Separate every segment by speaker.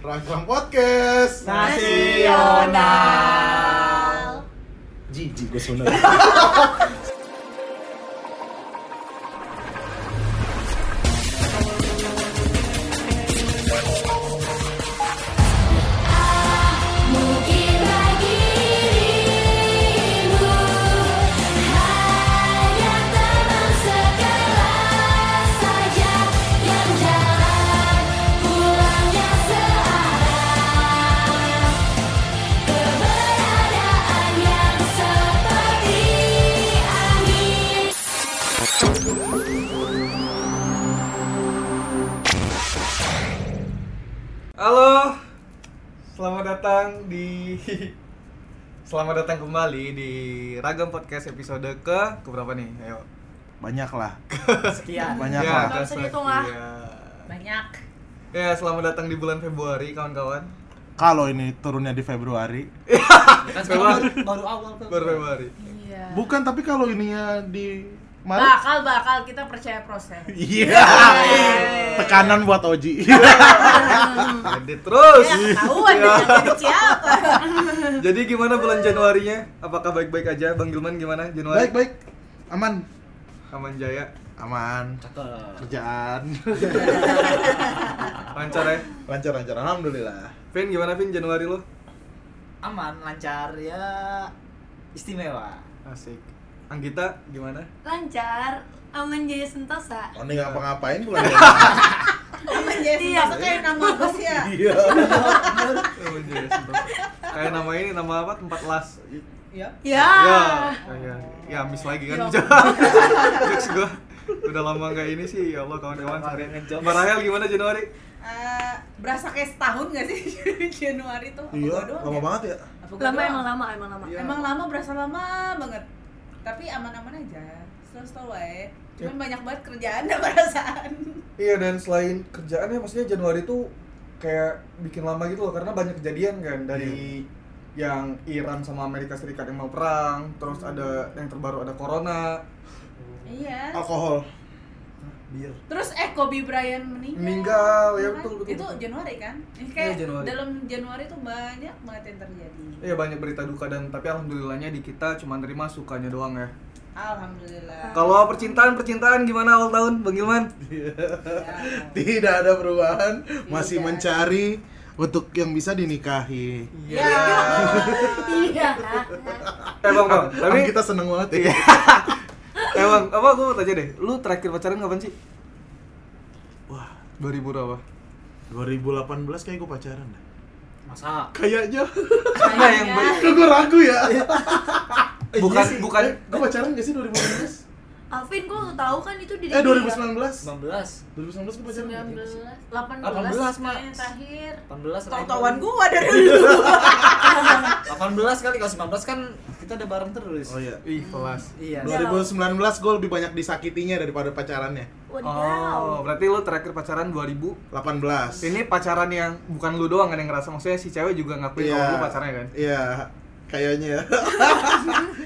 Speaker 1: Ragam Podcast
Speaker 2: Nasional.
Speaker 3: Jijik gue sunat.
Speaker 4: Mungkin bagi dirimu hanya teman sekelas saja yang jalan pulangnya searah. Keberadaan yang seperti angin.
Speaker 2: Halo, selamat datang di selamat datang kembali di Ragam Podcast episode ke keberapa nih? Ayo.
Speaker 1: Banyak lah
Speaker 5: Sekian.
Speaker 1: Banyak
Speaker 2: Ya,
Speaker 1: lah
Speaker 5: Nggak usah dihitung lah.
Speaker 2: sekian.
Speaker 5: Banyak.
Speaker 2: Iya. Ya, selamat datang di bulan Februari kawan-kawan.
Speaker 1: Kalau ini turunnya di Februari
Speaker 5: Kan
Speaker 2: sekarang
Speaker 5: baru awal tuh.
Speaker 2: Baru Februari.
Speaker 5: Iya.
Speaker 1: Bukan tapi kalau ininya di Maret
Speaker 5: Bakal bakal kita percaya proses.
Speaker 1: Iya Tekanan buat Oji
Speaker 2: Edit terus.
Speaker 1: Iya.
Speaker 5: Ya ketahuan deh yang jadi siapa.
Speaker 2: Jadi gimana bulan Januarinya? Apakah baik-baik aja? Bang Gilman gimana Januari?
Speaker 1: Baik baik Aman
Speaker 2: Aman jaya.
Speaker 1: Aman Kerjaan
Speaker 2: Lancar ya.
Speaker 1: Lancar lancar Alhamdulillah
Speaker 2: Vin gimana Vin Januari lo?
Speaker 6: aman lancar ya istimewa
Speaker 2: Asik. Anggita gimana?
Speaker 7: lancar aman jaya sentosa
Speaker 1: Oni Oh, ngapa-ngapain bulan Januari
Speaker 5: Aman ya. Iya,
Speaker 7: Iya.
Speaker 5: kayak nama bos ya.
Speaker 1: Iya
Speaker 2: Oh, jaya, sumpah. Kayak nama ini nama apa? Tempat las.
Speaker 1: Iya.
Speaker 6: ya
Speaker 5: Ya.
Speaker 2: Ya, ya, ya miss lagi kan
Speaker 5: Ya.
Speaker 2: jokes gua udah lama nggak ini sih ya Allah kawan-kawan sorry
Speaker 6: Ngejokes.
Speaker 2: Mbak Rahel gimana Januari?
Speaker 5: Eh, berasa kayak setahun gak sih Januari tuh? Apa
Speaker 1: Iya
Speaker 5: gua doang
Speaker 1: lama
Speaker 5: ya?
Speaker 1: banget ya
Speaker 5: Apa gua
Speaker 7: lama
Speaker 5: doang?
Speaker 7: emang lama emang lama
Speaker 2: Iya.
Speaker 5: Emang lama berasa lama banget. Tapi aman-aman aja. Slow-slow aja.
Speaker 1: Iya.
Speaker 5: Cuman banyak banget kerjaan dan perasaan.
Speaker 2: Iya dan selain kerjaan ya maksudnya Januari tuh kayak bikin lama gitu loh karena banyak kejadian kan
Speaker 1: Iya.
Speaker 2: dari yang Iran sama Amerika Serikat yang mau perang, terus
Speaker 5: Hmm.
Speaker 2: ada yang terbaru ada corona,
Speaker 5: Iya.
Speaker 1: Alkohol
Speaker 2: bir.
Speaker 5: Terus eh Kobe Bryant meninggal.
Speaker 2: Meninggal, ya
Speaker 5: kan?
Speaker 2: betul, betul,
Speaker 5: Itu
Speaker 2: betul.
Speaker 5: Januari kan? Ini kayak
Speaker 2: Iya, Januari.
Speaker 5: dalam Januari tuh banyak banget yang terjadi.
Speaker 2: Iya banyak berita duka dan tapi alhamdulillahnya di kita cuma nerima sukanya doang
Speaker 5: Ah.
Speaker 2: ya.
Speaker 5: Alhamdulillah.
Speaker 2: Kalau percintaan percintaan gimana awal tahun Bang Gilman?
Speaker 5: Ya.
Speaker 1: Tidak ada perubahan Masih
Speaker 5: Tidak.
Speaker 1: mencari Untuk yang bisa dinikahi
Speaker 2: Iya.
Speaker 5: Ya.
Speaker 7: iya
Speaker 2: Eh bang bang, tapi Iya.
Speaker 1: Tapi kita seneng banget ya
Speaker 2: Eh bang, apa gue mau tanya deh, lu terakhir pacaran kapan sih? Wah, 2000 berapa?
Speaker 1: 2018 kayak gue pacaran dah.
Speaker 6: masa
Speaker 1: Kayaknya.
Speaker 2: Enggak yang baik.
Speaker 1: Kok gue ragu ya?
Speaker 2: Bukan bukan
Speaker 1: gue Eh, pacaran gak sih 2018?
Speaker 7: Alvin kok lu tahu kan itu di
Speaker 5: Iya.
Speaker 1: eh 2019.
Speaker 6: 19
Speaker 1: 2019 gue pacaran. nggak?
Speaker 7: 19 18,
Speaker 6: 18, Mas.
Speaker 7: kayaknya terakhir
Speaker 6: 18
Speaker 5: Tau-tauan gua dari dulu.
Speaker 6: 18 kali kalau 19 kan kita udah bareng terus
Speaker 1: Oh iya.
Speaker 2: Ih, kelas.
Speaker 6: iya
Speaker 1: 2019 gue lebih banyak disakitinya daripada pacarannya.
Speaker 5: Iya,
Speaker 7: wadidaw
Speaker 2: Oh, berarti lu terakhir pacaran 2000
Speaker 1: 18.
Speaker 2: ini pacaran yang bukan lu doang kan yang ngerasa maksudnya si cewek juga ngakuin
Speaker 1: Iya.
Speaker 2: kalau lu pacarnya kan
Speaker 1: Iya. Kayaknya ya.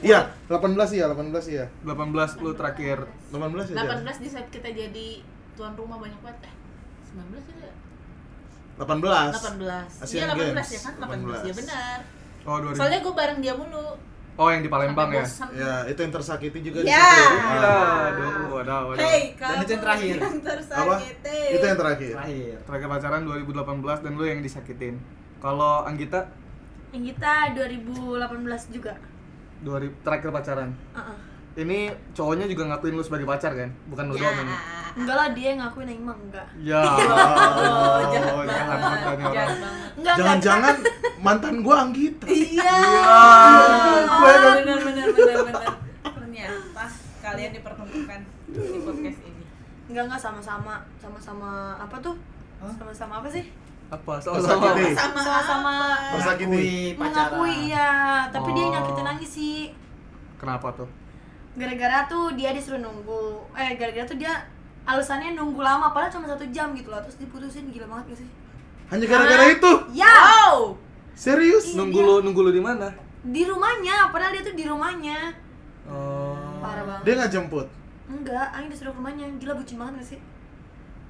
Speaker 1: Iya, 18 iya, 18 iya.
Speaker 2: 18 lu terakhir
Speaker 1: 18 ya.
Speaker 5: 18 di saat kita jadi tuan rumah banyak banget. Eh, 19 ya?
Speaker 1: 18.
Speaker 5: 18.
Speaker 1: Asian
Speaker 5: iya 18
Speaker 1: Games.
Speaker 5: ya kan? 18. Ya
Speaker 1: 18.
Speaker 5: benar.
Speaker 2: oh 2000
Speaker 5: Soalnya gua bareng dia mulu.
Speaker 2: oh yang di Palembang
Speaker 5: Sampai
Speaker 2: ya
Speaker 5: bosan.
Speaker 1: Ya, itu yang tersakiti juga di
Speaker 5: Ya.
Speaker 1: situ.
Speaker 2: iya
Speaker 1: Ah.
Speaker 2: aduh wadah wadah
Speaker 5: Hei, kamu
Speaker 6: Dan itu yang terakhir.
Speaker 5: yang
Speaker 1: Apa?
Speaker 5: tersakiti.
Speaker 1: Itu yang terakhir.
Speaker 6: terakhir
Speaker 2: terakhir pacaran 2018 dan lu yang disakitin kalau Anggita
Speaker 7: yang kita 2018 juga
Speaker 2: 2000 terakhir pacaran
Speaker 7: Heeh.
Speaker 2: ini cowoknya juga ngakuin lu sebagai pacar kan bukan lu doang
Speaker 5: Ya.
Speaker 2: ini
Speaker 7: enggak lah dia yang ngakuin yang emang enggak
Speaker 2: ya
Speaker 5: Oh,
Speaker 2: Allah,
Speaker 5: jahat
Speaker 2: jahat
Speaker 5: banget.
Speaker 2: banget nih
Speaker 5: Jahat
Speaker 2: orang.
Speaker 5: banget.
Speaker 7: enggak enggak
Speaker 1: Jangan-jangan mantan gue Anggita.
Speaker 5: Iya.
Speaker 2: Iya.
Speaker 5: Oh, benar benar benar benar. Ternyata kalian dipertemukan di podcast ini.
Speaker 7: enggak enggak sama-sama sama-sama apa tuh sama-sama apa sih
Speaker 2: apa sama-sama
Speaker 1: Tersakiti.
Speaker 7: sama-sama
Speaker 1: Tersakiti.
Speaker 7: mengakui iya tapi dia
Speaker 2: Oh.
Speaker 7: nyakitin lagi sih
Speaker 2: kenapa tuh
Speaker 7: gara-gara tuh dia disuruh nunggu eh gara-gara tuh dia alasannya nunggu lama padahal cuma satu jam gitu loh terus diputusin gila banget gak sih
Speaker 1: Hanya gara-gara
Speaker 7: Ah.
Speaker 1: itu.
Speaker 7: ya
Speaker 5: Wow.
Speaker 1: Serius?
Speaker 7: Iya,
Speaker 2: nunggu
Speaker 7: dia.
Speaker 2: lu nunggu lu di mana
Speaker 7: di rumahnya padahal dia tuh di rumahnya
Speaker 2: oh
Speaker 7: parah banget
Speaker 1: Dia nggak jemput.
Speaker 7: enggak Aing disuruh ke rumahnya gila bucin banget gak sih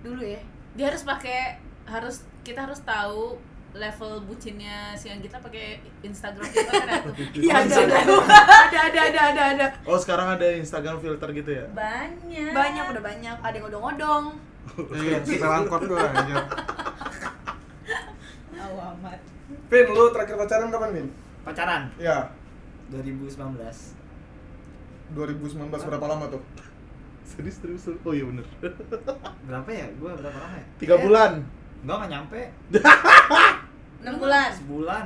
Speaker 5: Dulu ya. Dia harus pakai harus kita harus tahu level bucinnya si Anggita pakai Instagram kita kan ada tuh.
Speaker 7: Iya ada ada ada ada ada ada ada
Speaker 1: Oh sekarang ada Instagram filter gitu ya?
Speaker 5: banyak
Speaker 7: banyak udah banyak ada yang ngodong-ngodong
Speaker 2: Iya, kita angkot tuh anjir.
Speaker 5: awamat
Speaker 2: Vin, lu terakhir pacaran kapan, Vin?
Speaker 6: Pacaran
Speaker 2: Ya,
Speaker 6: 2019.
Speaker 2: 2019 berapa lama tuh?
Speaker 1: Serius serius. serius. Oh iya bener.
Speaker 6: Berapa ya? Gua berapa lama ya?
Speaker 1: Tiga
Speaker 6: Eh,
Speaker 1: bulan.
Speaker 6: Enggak enggak nyampe.
Speaker 5: 6 bulan
Speaker 6: Sebulan.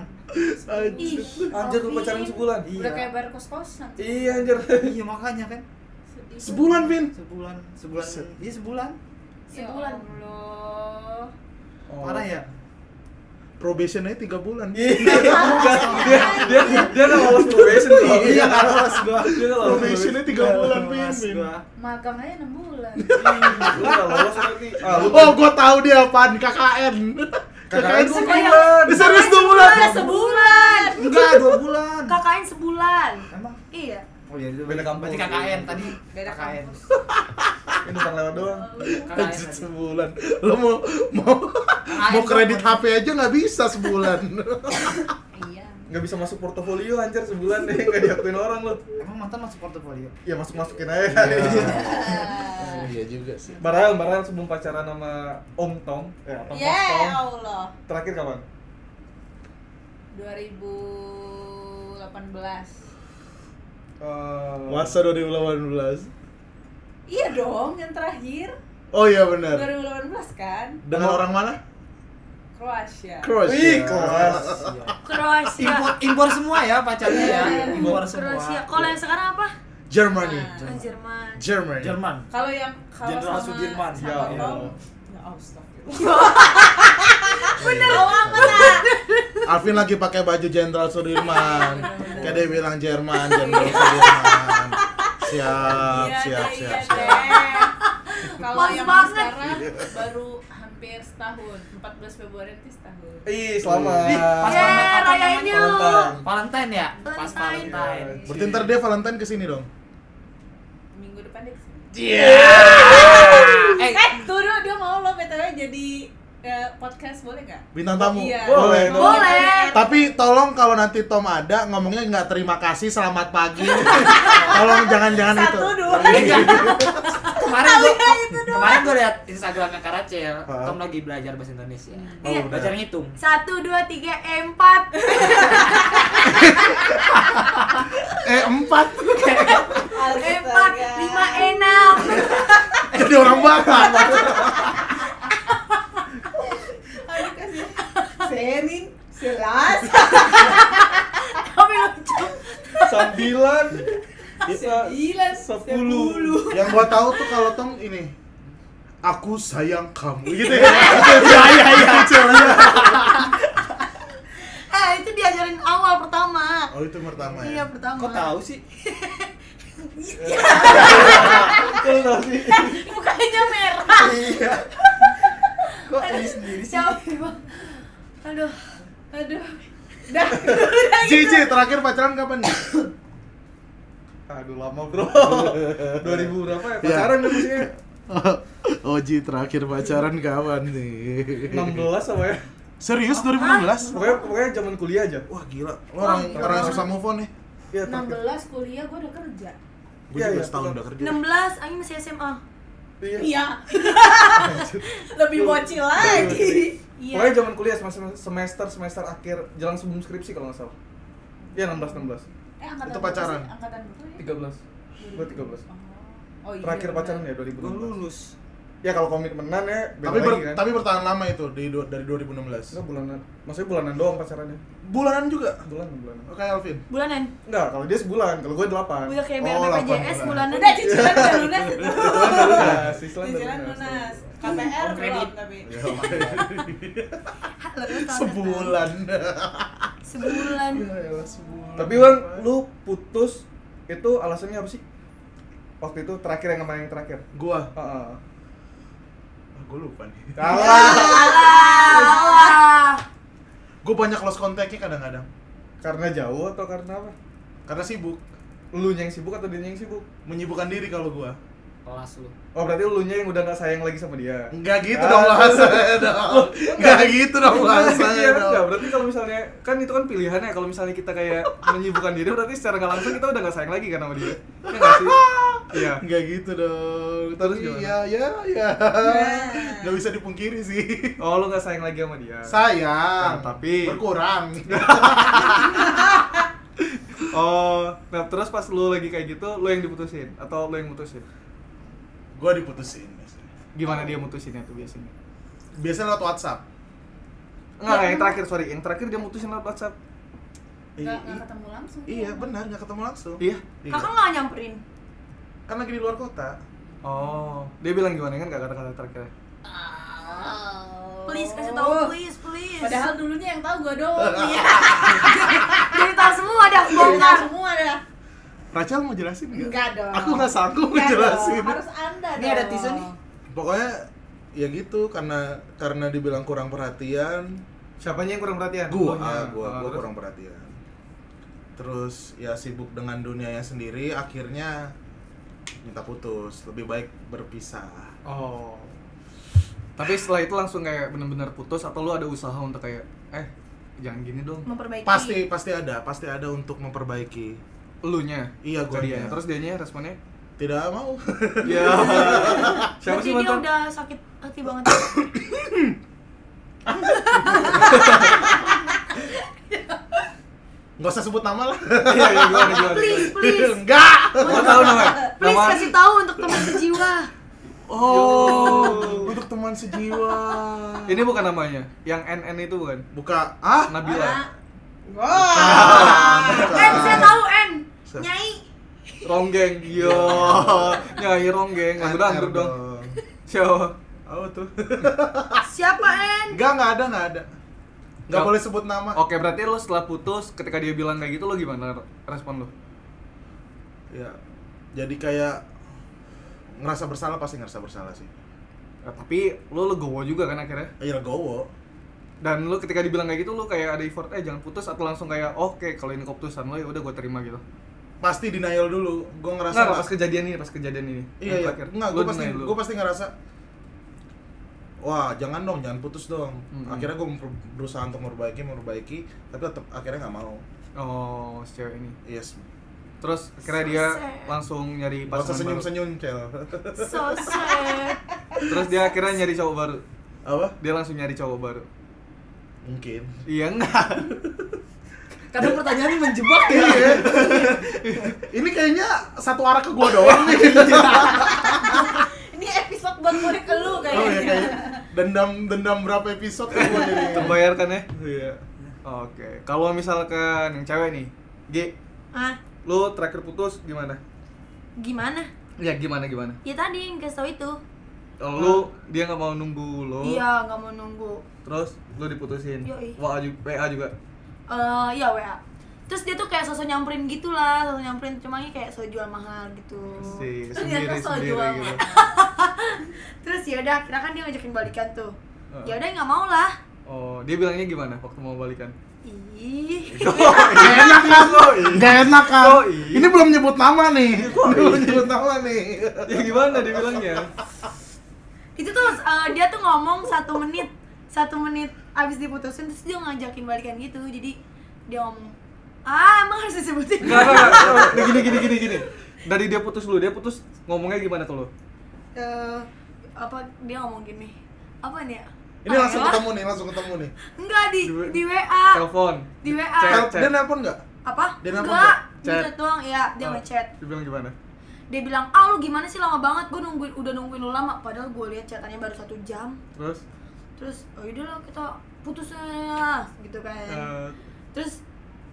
Speaker 1: Anjir.
Speaker 7: ih
Speaker 2: Anjir, lu
Speaker 7: Alvin.
Speaker 2: pacaran sebulan.
Speaker 5: udah kayak
Speaker 6: Iya.
Speaker 5: bayar kos kosan
Speaker 2: Iya, anjir.
Speaker 6: Iya makanya kan.
Speaker 1: Sebulan Vin.
Speaker 6: Sebulan, sebulan.
Speaker 1: Buset.
Speaker 6: Iya sebulan.
Speaker 7: Sebulan.
Speaker 5: ya Allah
Speaker 2: Oh.
Speaker 6: Parah ya?
Speaker 1: Probationnya tiga bulan.
Speaker 2: Iya, bukan. Dia dia dia enggak lolos probation tuh.
Speaker 6: Iya, nggak lolos gua.
Speaker 2: Dia nggak lolos.
Speaker 1: Probationnya Oh, tiga
Speaker 6: Nggak
Speaker 1: bulan Vin.
Speaker 6: lolos
Speaker 1: Vin.
Speaker 6: Iya. gua.
Speaker 5: magang aja 6 bulan
Speaker 2: Lu enggak lolos berarti. Ah, lu
Speaker 1: Oh gua tahu dia apaan KKN.
Speaker 2: KKN
Speaker 1: KKN
Speaker 2: dua
Speaker 7: sebulan.
Speaker 2: bulan.
Speaker 1: Eh, Serius dua bulan.
Speaker 7: Ah, sebulan
Speaker 6: Enggak, 2 bulan.
Speaker 7: KKN sebulan
Speaker 6: Emang
Speaker 7: iya
Speaker 6: Oh iya, itu
Speaker 2: Beda kampus.
Speaker 6: Berarti KKN tadi.
Speaker 5: Beda
Speaker 6: KKN.
Speaker 5: kampus.
Speaker 2: Ini bukan lewat doang.
Speaker 6: KKN
Speaker 1: Anjir,
Speaker 6: tadi.
Speaker 1: sebulan. Lo mau mau
Speaker 6: Ah,
Speaker 1: mau kredit HP aja nggak bisa sebulan.
Speaker 5: iya
Speaker 2: Enggak bisa masuk portofolio anjir sebulan deh, enggak diakuin orang lu.
Speaker 6: Emang mantan masuk portofolio?
Speaker 2: Ya masuk-masukin aja.
Speaker 1: Iya. Oh, Iya juga sih.
Speaker 2: Barel, barel sebelum pacaran sama Om Tom, eh apa
Speaker 5: ya
Speaker 2: Mas Tom?
Speaker 5: Allah
Speaker 2: Terakhir kapan?
Speaker 5: 2018
Speaker 2: Eh,
Speaker 1: Masa 2018.
Speaker 5: iya dong yang terakhir
Speaker 1: Oh iya benar.
Speaker 5: 2018 kan
Speaker 1: Dengan
Speaker 6: Oh. Iya.
Speaker 1: orang mana?
Speaker 5: Kroasia
Speaker 1: Kroasia.
Speaker 2: Wih, kelas.
Speaker 6: Iya.
Speaker 7: Kroasia
Speaker 6: Impor, impor semua ya pacarnya ya.
Speaker 5: Iya.
Speaker 6: Impor semua.
Speaker 7: Kroasia kalau yang sekarang apa
Speaker 1: Germany.
Speaker 7: Ah, Jerman
Speaker 1: Germany. Oh.
Speaker 6: Jerman.
Speaker 5: Kalau yang kalau
Speaker 6: Jenderal
Speaker 5: sama
Speaker 6: Sudirman.
Speaker 5: sama
Speaker 2: Ya
Speaker 5: Tom,
Speaker 2: Allah.
Speaker 5: ya astagfirullah. Bener amat lah.
Speaker 1: Alvin lagi pakai baju Jenderal Sudirman.
Speaker 5: Bener-bener.
Speaker 1: Kayak dia bilang Jerman, Jenderal Sudirman. Ah, Siap,
Speaker 5: Iya
Speaker 1: siap,
Speaker 5: deh,
Speaker 1: siap,
Speaker 5: iya
Speaker 1: siap. Iya.
Speaker 5: deh. Kalau
Speaker 7: Pas
Speaker 5: yang
Speaker 7: banget.
Speaker 5: sekarang baru hampir setahun, 14 Februari nanti setahun.
Speaker 1: Eh.
Speaker 2: Ih, selamat.
Speaker 6: Ih, pas
Speaker 7: Yeay,
Speaker 6: banget. Apa
Speaker 7: rayain
Speaker 6: namanya?
Speaker 7: yuk.
Speaker 2: Valentine.
Speaker 6: Valentine ya? Pas
Speaker 7: Valentine.
Speaker 6: Valentine.
Speaker 1: Iya,
Speaker 2: iya.
Speaker 1: Berarti ntar dia Valentine kesini dong.
Speaker 5: Minggu depan dia kesini.
Speaker 6: Eh,
Speaker 5: Eh, tuh dia, dia mau lo btw jadi eh, podcast boleh nggak?
Speaker 1: Bintang tamu.
Speaker 5: Iya.
Speaker 1: Boleh.
Speaker 2: Boleh.
Speaker 7: Boleh.
Speaker 1: Tapi tolong kalau nanti Tom ada ngomongnya nggak terima kasih, selamat pagi. tolong jangan-jangan itu. Iya.
Speaker 5: Satu dua.
Speaker 6: kemarin gua kemarin gua liat Instagramnya Karacel,
Speaker 1: Hah?
Speaker 6: ya, Tom lagi belajar bahasa Indonesia.
Speaker 1: Oh,
Speaker 7: Iya.
Speaker 1: udah.
Speaker 6: Belajar ngitung.
Speaker 7: satu dua tiga empat
Speaker 1: Eh empat
Speaker 7: empat lima enam
Speaker 1: jadi orang barat.
Speaker 5: Aduh kasih. Sering selas.
Speaker 7: kami lucu
Speaker 2: Iya. Sembilan.
Speaker 1: Iya.
Speaker 5: Sembilan.
Speaker 2: Sepuluh.
Speaker 1: Yang gua tahu tuh kalau Tom ini aku sayang kamu gitu ya. Iya iya iya.
Speaker 7: eh itu diajarin awal pertama
Speaker 1: Oh itu pertama
Speaker 7: iya
Speaker 1: ya.
Speaker 7: pertama
Speaker 6: Kok tahu sih?
Speaker 2: Betul tau sih.
Speaker 7: mukanya merah
Speaker 1: Iya.
Speaker 6: Kok ini sendiri sih?
Speaker 7: siapa Bang? aduh
Speaker 5: Aduh. Dah.
Speaker 1: Cici terakhir pacaran kapan nih?
Speaker 2: Aduh, lama bro. 2000 berapa
Speaker 1: Iya.
Speaker 2: ya? Pacaran ya maksudnya?
Speaker 1: Oji Oh, terakhir pacaran kapan nih?
Speaker 2: 16 apa ya?
Speaker 1: Serius 2016?
Speaker 2: Pokoknya, pokoknya zaman kuliah aja.
Speaker 1: Wah gila, lo orang
Speaker 7: Wah,
Speaker 1: orang
Speaker 7: iya.
Speaker 1: susah move on nih.
Speaker 2: Iya, terakhir.
Speaker 5: 16 kuliah gue udah kerja.
Speaker 1: Gue
Speaker 2: Iya,
Speaker 1: juga
Speaker 2: iya,
Speaker 1: setahun
Speaker 2: betul.
Speaker 1: udah kerja.
Speaker 7: 16 Angin masih SMA
Speaker 2: Iya.
Speaker 5: Iya. Lebih bocil lagi.
Speaker 7: Iya.
Speaker 2: Pokoknya zaman kuliah semester semester semester akhir jelang sebelum skripsi kalau nggak salah.
Speaker 5: Eh
Speaker 2: Iya 16
Speaker 5: angkatan
Speaker 1: Itu
Speaker 5: berapa sih?
Speaker 1: pacaran.
Speaker 5: Angkatan berapa ya?
Speaker 2: 16. 13. Gua 13.
Speaker 5: Oh, iya,
Speaker 2: Terakhir
Speaker 5: benar.
Speaker 2: pacaran ya
Speaker 6: Gua
Speaker 2: 2016.
Speaker 6: lulus.
Speaker 2: Ya kalau komitmenan ya beda
Speaker 1: Tapi ber,
Speaker 2: lagi kan.
Speaker 1: tapi bertahan lama itu di du- dari 2016.
Speaker 2: Enggak bulanan. Maksudnya bulanan doang pacarannya.
Speaker 1: Bulanan juga.
Speaker 2: Bulanan bulanan.
Speaker 1: Oke Alvin.
Speaker 7: bulanan
Speaker 2: Enggak, kalau dia sebulan, kalau gue 8.
Speaker 7: udah kayak
Speaker 1: Oh,
Speaker 7: bayar BPJS
Speaker 1: 18.
Speaker 7: bulanan
Speaker 5: Udah cicilan udah lunas itu.
Speaker 2: lunas, cicilan udah
Speaker 5: Cicilan
Speaker 2: lunas.
Speaker 5: lunas. KPR
Speaker 6: Om kredit.
Speaker 5: belum tapi.
Speaker 1: Ya, makanya.
Speaker 7: Lo tuh tahu
Speaker 1: sebulan.
Speaker 7: nggak? sebulan
Speaker 1: Ya, elah, Iya, sebulan.
Speaker 2: Tapi Bang, lu putus itu alasannya apa sih? Waktu itu terakhir yang kemarin yang terakhir.
Speaker 1: gua,
Speaker 2: Heeh.
Speaker 1: ah, gua lupa nih.
Speaker 2: Salah.
Speaker 7: Alah.
Speaker 1: Gua banyak lost kontaknya kadang-kadang
Speaker 2: karena jauh atau karena apa?
Speaker 1: karena sibuk
Speaker 2: Lu yang sibuk atau dia yang sibuk?
Speaker 1: menyibukkan diri kalau gua
Speaker 6: kelas lu
Speaker 2: Oh berarti elunya yang udah gak sayang lagi sama dia.
Speaker 1: Enggak gitu dong bahasanya dong. Enggak gitu dong bahasanya
Speaker 2: Iya,
Speaker 1: dong.
Speaker 2: enggak. Berarti kalau misalnya kan itu kan pilihannya kalau misalnya kita kayak menyibukkan diri berarti secara nggak langsung kita udah gak sayang lagi kan sama dia. Iya nggak sih? Iya.
Speaker 1: Enggak gitu dong.
Speaker 2: Terus
Speaker 1: Terus
Speaker 2: gimana?
Speaker 1: iya, ya, ya. Enggak bisa dipungkiri sih.
Speaker 2: Oh lu gak sayang lagi sama dia.
Speaker 1: Sayang,
Speaker 2: Nah, tapi-
Speaker 1: berkurang.
Speaker 2: Oh, nah terus pas lu lagi kayak gitu, lu yang diputusin atau lu yang mutusin?
Speaker 1: Gua diputusin.
Speaker 2: Gimana dia mutusinnya tuh biasanya?
Speaker 1: Biasanya lewat WhatsApp.
Speaker 2: Enggak, yang terakhir sorry, yang terakhir dia mutusin lewat WhatsApp.
Speaker 5: nggak
Speaker 1: I-
Speaker 5: nggak
Speaker 1: i-
Speaker 5: ketemu langsung
Speaker 1: Iya, benar nggak ketemu langsung.
Speaker 2: Iya.
Speaker 1: Iya.
Speaker 7: Kakak nggak nyamperin.
Speaker 1: Kan lagi di luar kota.
Speaker 2: Oh, dia bilang gimana kan gak kata-kata terakhirnya?
Speaker 5: Oh.
Speaker 7: Please kasih tahu please please.
Speaker 5: padahal dulunya yang tahu gue doang iya
Speaker 7: cerita semua dah
Speaker 5: Kita
Speaker 7: bongkar.
Speaker 5: semua dah
Speaker 1: Rachel mau jelasin nggak?
Speaker 5: enggak dong
Speaker 1: Aku nggak sanggup
Speaker 5: Enggak dong,
Speaker 1: ngejelasin.
Speaker 5: Iya. harus anda
Speaker 6: Ini
Speaker 5: dong.
Speaker 6: ada teaser nih.
Speaker 1: Pokoknya ya gitu karena karena dibilang kurang perhatian,
Speaker 2: Siapanya yang kurang perhatian?
Speaker 1: gua
Speaker 2: Elunya.
Speaker 1: ah, gua,
Speaker 2: Ah,
Speaker 1: gua
Speaker 2: terus?
Speaker 1: kurang perhatian terus ya sibuk dengan dunianya sendiri akhirnya minta putus lebih baik berpisah
Speaker 2: Oh. Tapi setelah itu langsung kayak benar-benar putus atau lu ada usaha untuk kayak eh jangan gini dong.
Speaker 7: Memperbaiki.
Speaker 1: pasti pasti ada pasti ada untuk memperbaiki
Speaker 2: Elunya.
Speaker 1: Iya,
Speaker 2: Ke
Speaker 1: guanya.
Speaker 2: dia. Terus dianya responnya?
Speaker 1: tidak mau
Speaker 2: Ya. Siapa
Speaker 7: Berarti
Speaker 2: sih
Speaker 7: dia
Speaker 2: mantan?
Speaker 7: udah sakit hati banget.
Speaker 1: nggak usah sebut nama lah
Speaker 2: Iya, iya, gimana gimana.
Speaker 7: please please.
Speaker 1: enggak
Speaker 2: Mau tahu namanya?
Speaker 7: Please
Speaker 2: Nama-
Speaker 7: kasih tahu untuk teman sejiwa.
Speaker 1: oh untuk teman sejiwa
Speaker 2: Ini bukan namanya. Yang NN itu bukan.
Speaker 1: buka ah
Speaker 2: Nabila.
Speaker 1: Nah,
Speaker 7: N saya tahu N.
Speaker 1: Siap.
Speaker 7: Nyai.
Speaker 2: Ronggeng. Yo. Nyai Ronggeng. Aku dangdut Iya. dong. Siapa?
Speaker 1: oh tuh
Speaker 7: Siapa N?
Speaker 1: enggak enggak ada enggak ada enggak Oh.
Speaker 2: Nggak.
Speaker 1: boleh sebut nama
Speaker 2: Oke, berarti lu setelah putus ketika dia bilang kayak gitu lu gimana respon lu?
Speaker 1: ya jadi kayak ngerasa bersalah pasti ngerasa bersalah sih
Speaker 2: Ya, tapi lu legowo juga kan akhirnya?
Speaker 1: ya legowo
Speaker 2: dan lu ketika dibilang kayak gitu lu kayak ada effort eh jangan putus atau langsung kayak oke kalau ini keputusan lo ya udah gue terima gitu
Speaker 1: pasti denial dulu gue ngerasa
Speaker 2: nggak
Speaker 1: nggak-
Speaker 2: pas kejadian ini pas kejadian ini
Speaker 1: iya iya nggak gue pasti gue pasti ngerasa wah jangan dong jangan putus dong
Speaker 2: Mm-mm.
Speaker 1: akhirnya gue berusaha untuk memperbaiki memperbaiki tapi tetap akhirnya nggak mau
Speaker 2: oh si cewek ini
Speaker 1: yes
Speaker 2: terus akhirnya dia
Speaker 7: So sad.
Speaker 2: langsung nyari
Speaker 1: nggak usah
Speaker 2: pasangan
Speaker 1: senyum
Speaker 2: baru
Speaker 1: senyum cel
Speaker 7: So sad.
Speaker 2: terus dia akhirnya nyari cowok baru
Speaker 1: apa
Speaker 2: dia langsung nyari cowok baru
Speaker 1: mungkin
Speaker 2: iya enggak
Speaker 6: kadang pertanyaannya menjebak ya
Speaker 1: ini kayaknya satu arah ke gue doang nih
Speaker 5: ini episode buat murid ke lu
Speaker 1: oh
Speaker 7: iya.
Speaker 1: ya
Speaker 5: kayaknya
Speaker 1: kayak dendam dendam berapa episode ke gue jadi
Speaker 2: terbayarkan ya
Speaker 1: iya
Speaker 2: oke kalau misalkan yang cewek nih G
Speaker 7: Ah,
Speaker 2: lu terakhir putus gimana
Speaker 7: gimana?
Speaker 2: ya gimana gimana
Speaker 7: Ya tadi yang kasih tahu itu.
Speaker 2: kalau lu dia nggak mau nunggu lo
Speaker 7: Iya, nggak mau nunggu.
Speaker 2: terus lu diputusin
Speaker 7: Yoi.
Speaker 2: WA juga, WA juga
Speaker 7: Eh, iya WA. Terus dia tuh kayak sosok nyamperin gitu lah, sosok nyamperin cuma ini kayak sosok jual mahal gitu.
Speaker 2: si
Speaker 5: Ternyata
Speaker 2: sendiri
Speaker 5: soal
Speaker 2: sendiri
Speaker 5: jual
Speaker 2: gitu
Speaker 7: Terus ya udah, akhirnya kan dia ngajakin balikan tuh.
Speaker 2: Heeh.
Speaker 7: Ya udah nggak mau lah.
Speaker 2: oh dia bilangnya gimana waktu mau balikan
Speaker 7: Ih.
Speaker 1: Gak enak kan? Gak enak kan?
Speaker 2: Oh, iya.
Speaker 1: Ini belum nyebut nama nih. Belum nyebut nama nih.
Speaker 2: ya gimana dia bilangnya
Speaker 7: itu tuh eh, dia tuh ngomong satu menit satu menit abis diputusin terus dia ngajakin balikan gitu jadi dia ngomong ah emang harus disebutin
Speaker 2: nggak nggak, nggak Nah, gini gini gini gini dari dia putus lu dia putus ngomongnya gimana tuh lu
Speaker 7: Eh, apa dia ngomong gini apa nih ya
Speaker 1: Ini
Speaker 7: Ah,
Speaker 1: langsung
Speaker 7: elah.
Speaker 1: ketemu nih, langsung ketemu nih.
Speaker 7: enggak di
Speaker 2: Di-
Speaker 7: di WA
Speaker 2: telepon
Speaker 7: di WA
Speaker 2: Chat.
Speaker 1: Tel- Dia nelpon nggak?
Speaker 7: apa
Speaker 1: Dia nelpon
Speaker 7: enggak
Speaker 2: nggak?
Speaker 7: dia
Speaker 2: Chat.
Speaker 7: chat doang ya dia
Speaker 2: Ah,
Speaker 7: ngechat
Speaker 2: dia bilang gimana
Speaker 7: dia bilang ah lu gimana sih lama banget gue nungguin udah nungguin lu lama padahal gue lihat chatannya baru satu jam
Speaker 2: terus
Speaker 7: terus oh yaudah lah kita putus aja," gitu kan
Speaker 2: eh,
Speaker 7: terus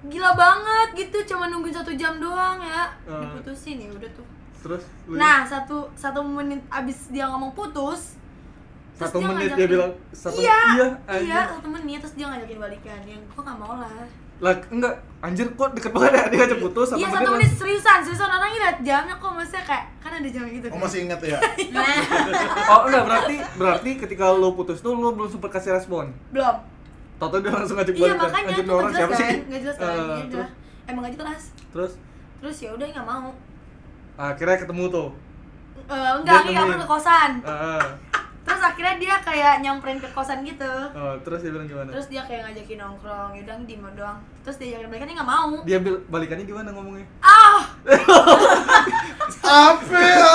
Speaker 7: gila banget gitu cuma nungguin satu jam doang ya
Speaker 2: Eh.
Speaker 7: diputusin ya udah tuh
Speaker 2: terus lu ya?
Speaker 7: nah satu satu menit abis dia ngomong putus terus
Speaker 2: satu
Speaker 7: ngajakin-
Speaker 2: menit dia bilang satu
Speaker 7: iya iya,
Speaker 2: anjir.
Speaker 7: satu menit terus dia ngajakin balikan yang gua nggak mau lah
Speaker 2: lah enggak anjir kok deket banget ya dia ngajak putus satu
Speaker 7: iya
Speaker 2: menit
Speaker 7: satu menit
Speaker 2: langsung.
Speaker 7: seriusan seriusan orang lihat jamnya kok maksudnya kayak kan ada jam gitu
Speaker 1: Oh
Speaker 7: kan
Speaker 1: masih ingat ya?
Speaker 2: oh enggak berarti berarti ketika lu putus tuh lu belum sempat kasih respon
Speaker 7: belum
Speaker 2: Toto dia langsung ngajak
Speaker 7: iya
Speaker 2: balikan.
Speaker 7: makanya tuh
Speaker 2: Anjir, ini
Speaker 7: nggak
Speaker 2: orang
Speaker 7: jelas
Speaker 2: siapa sih?
Speaker 7: kan nggak jelas kan
Speaker 2: Eh,
Speaker 7: iya
Speaker 2: terus,
Speaker 7: udah emang nggak jelas
Speaker 2: terus
Speaker 7: terus ya udah nggak mau
Speaker 2: akhirnya ketemu tuh. Eh,
Speaker 7: eh, enggak,
Speaker 2: Dia
Speaker 7: Ki, aku
Speaker 2: nemuin.
Speaker 7: ke kosan.
Speaker 2: Heeh.
Speaker 7: Terus akhirnya dia kayak nyamperin ke kosan gitu.
Speaker 2: oh, terus dia bilang gimana?
Speaker 7: Terus dia kayak ngajakin nongkrong, yaudah di mall doang. Terus dia jalan balikan dia nggak mau.
Speaker 2: Dia bil- balikannya gimana ngomongnya?
Speaker 7: Ah,
Speaker 1: Apa ya?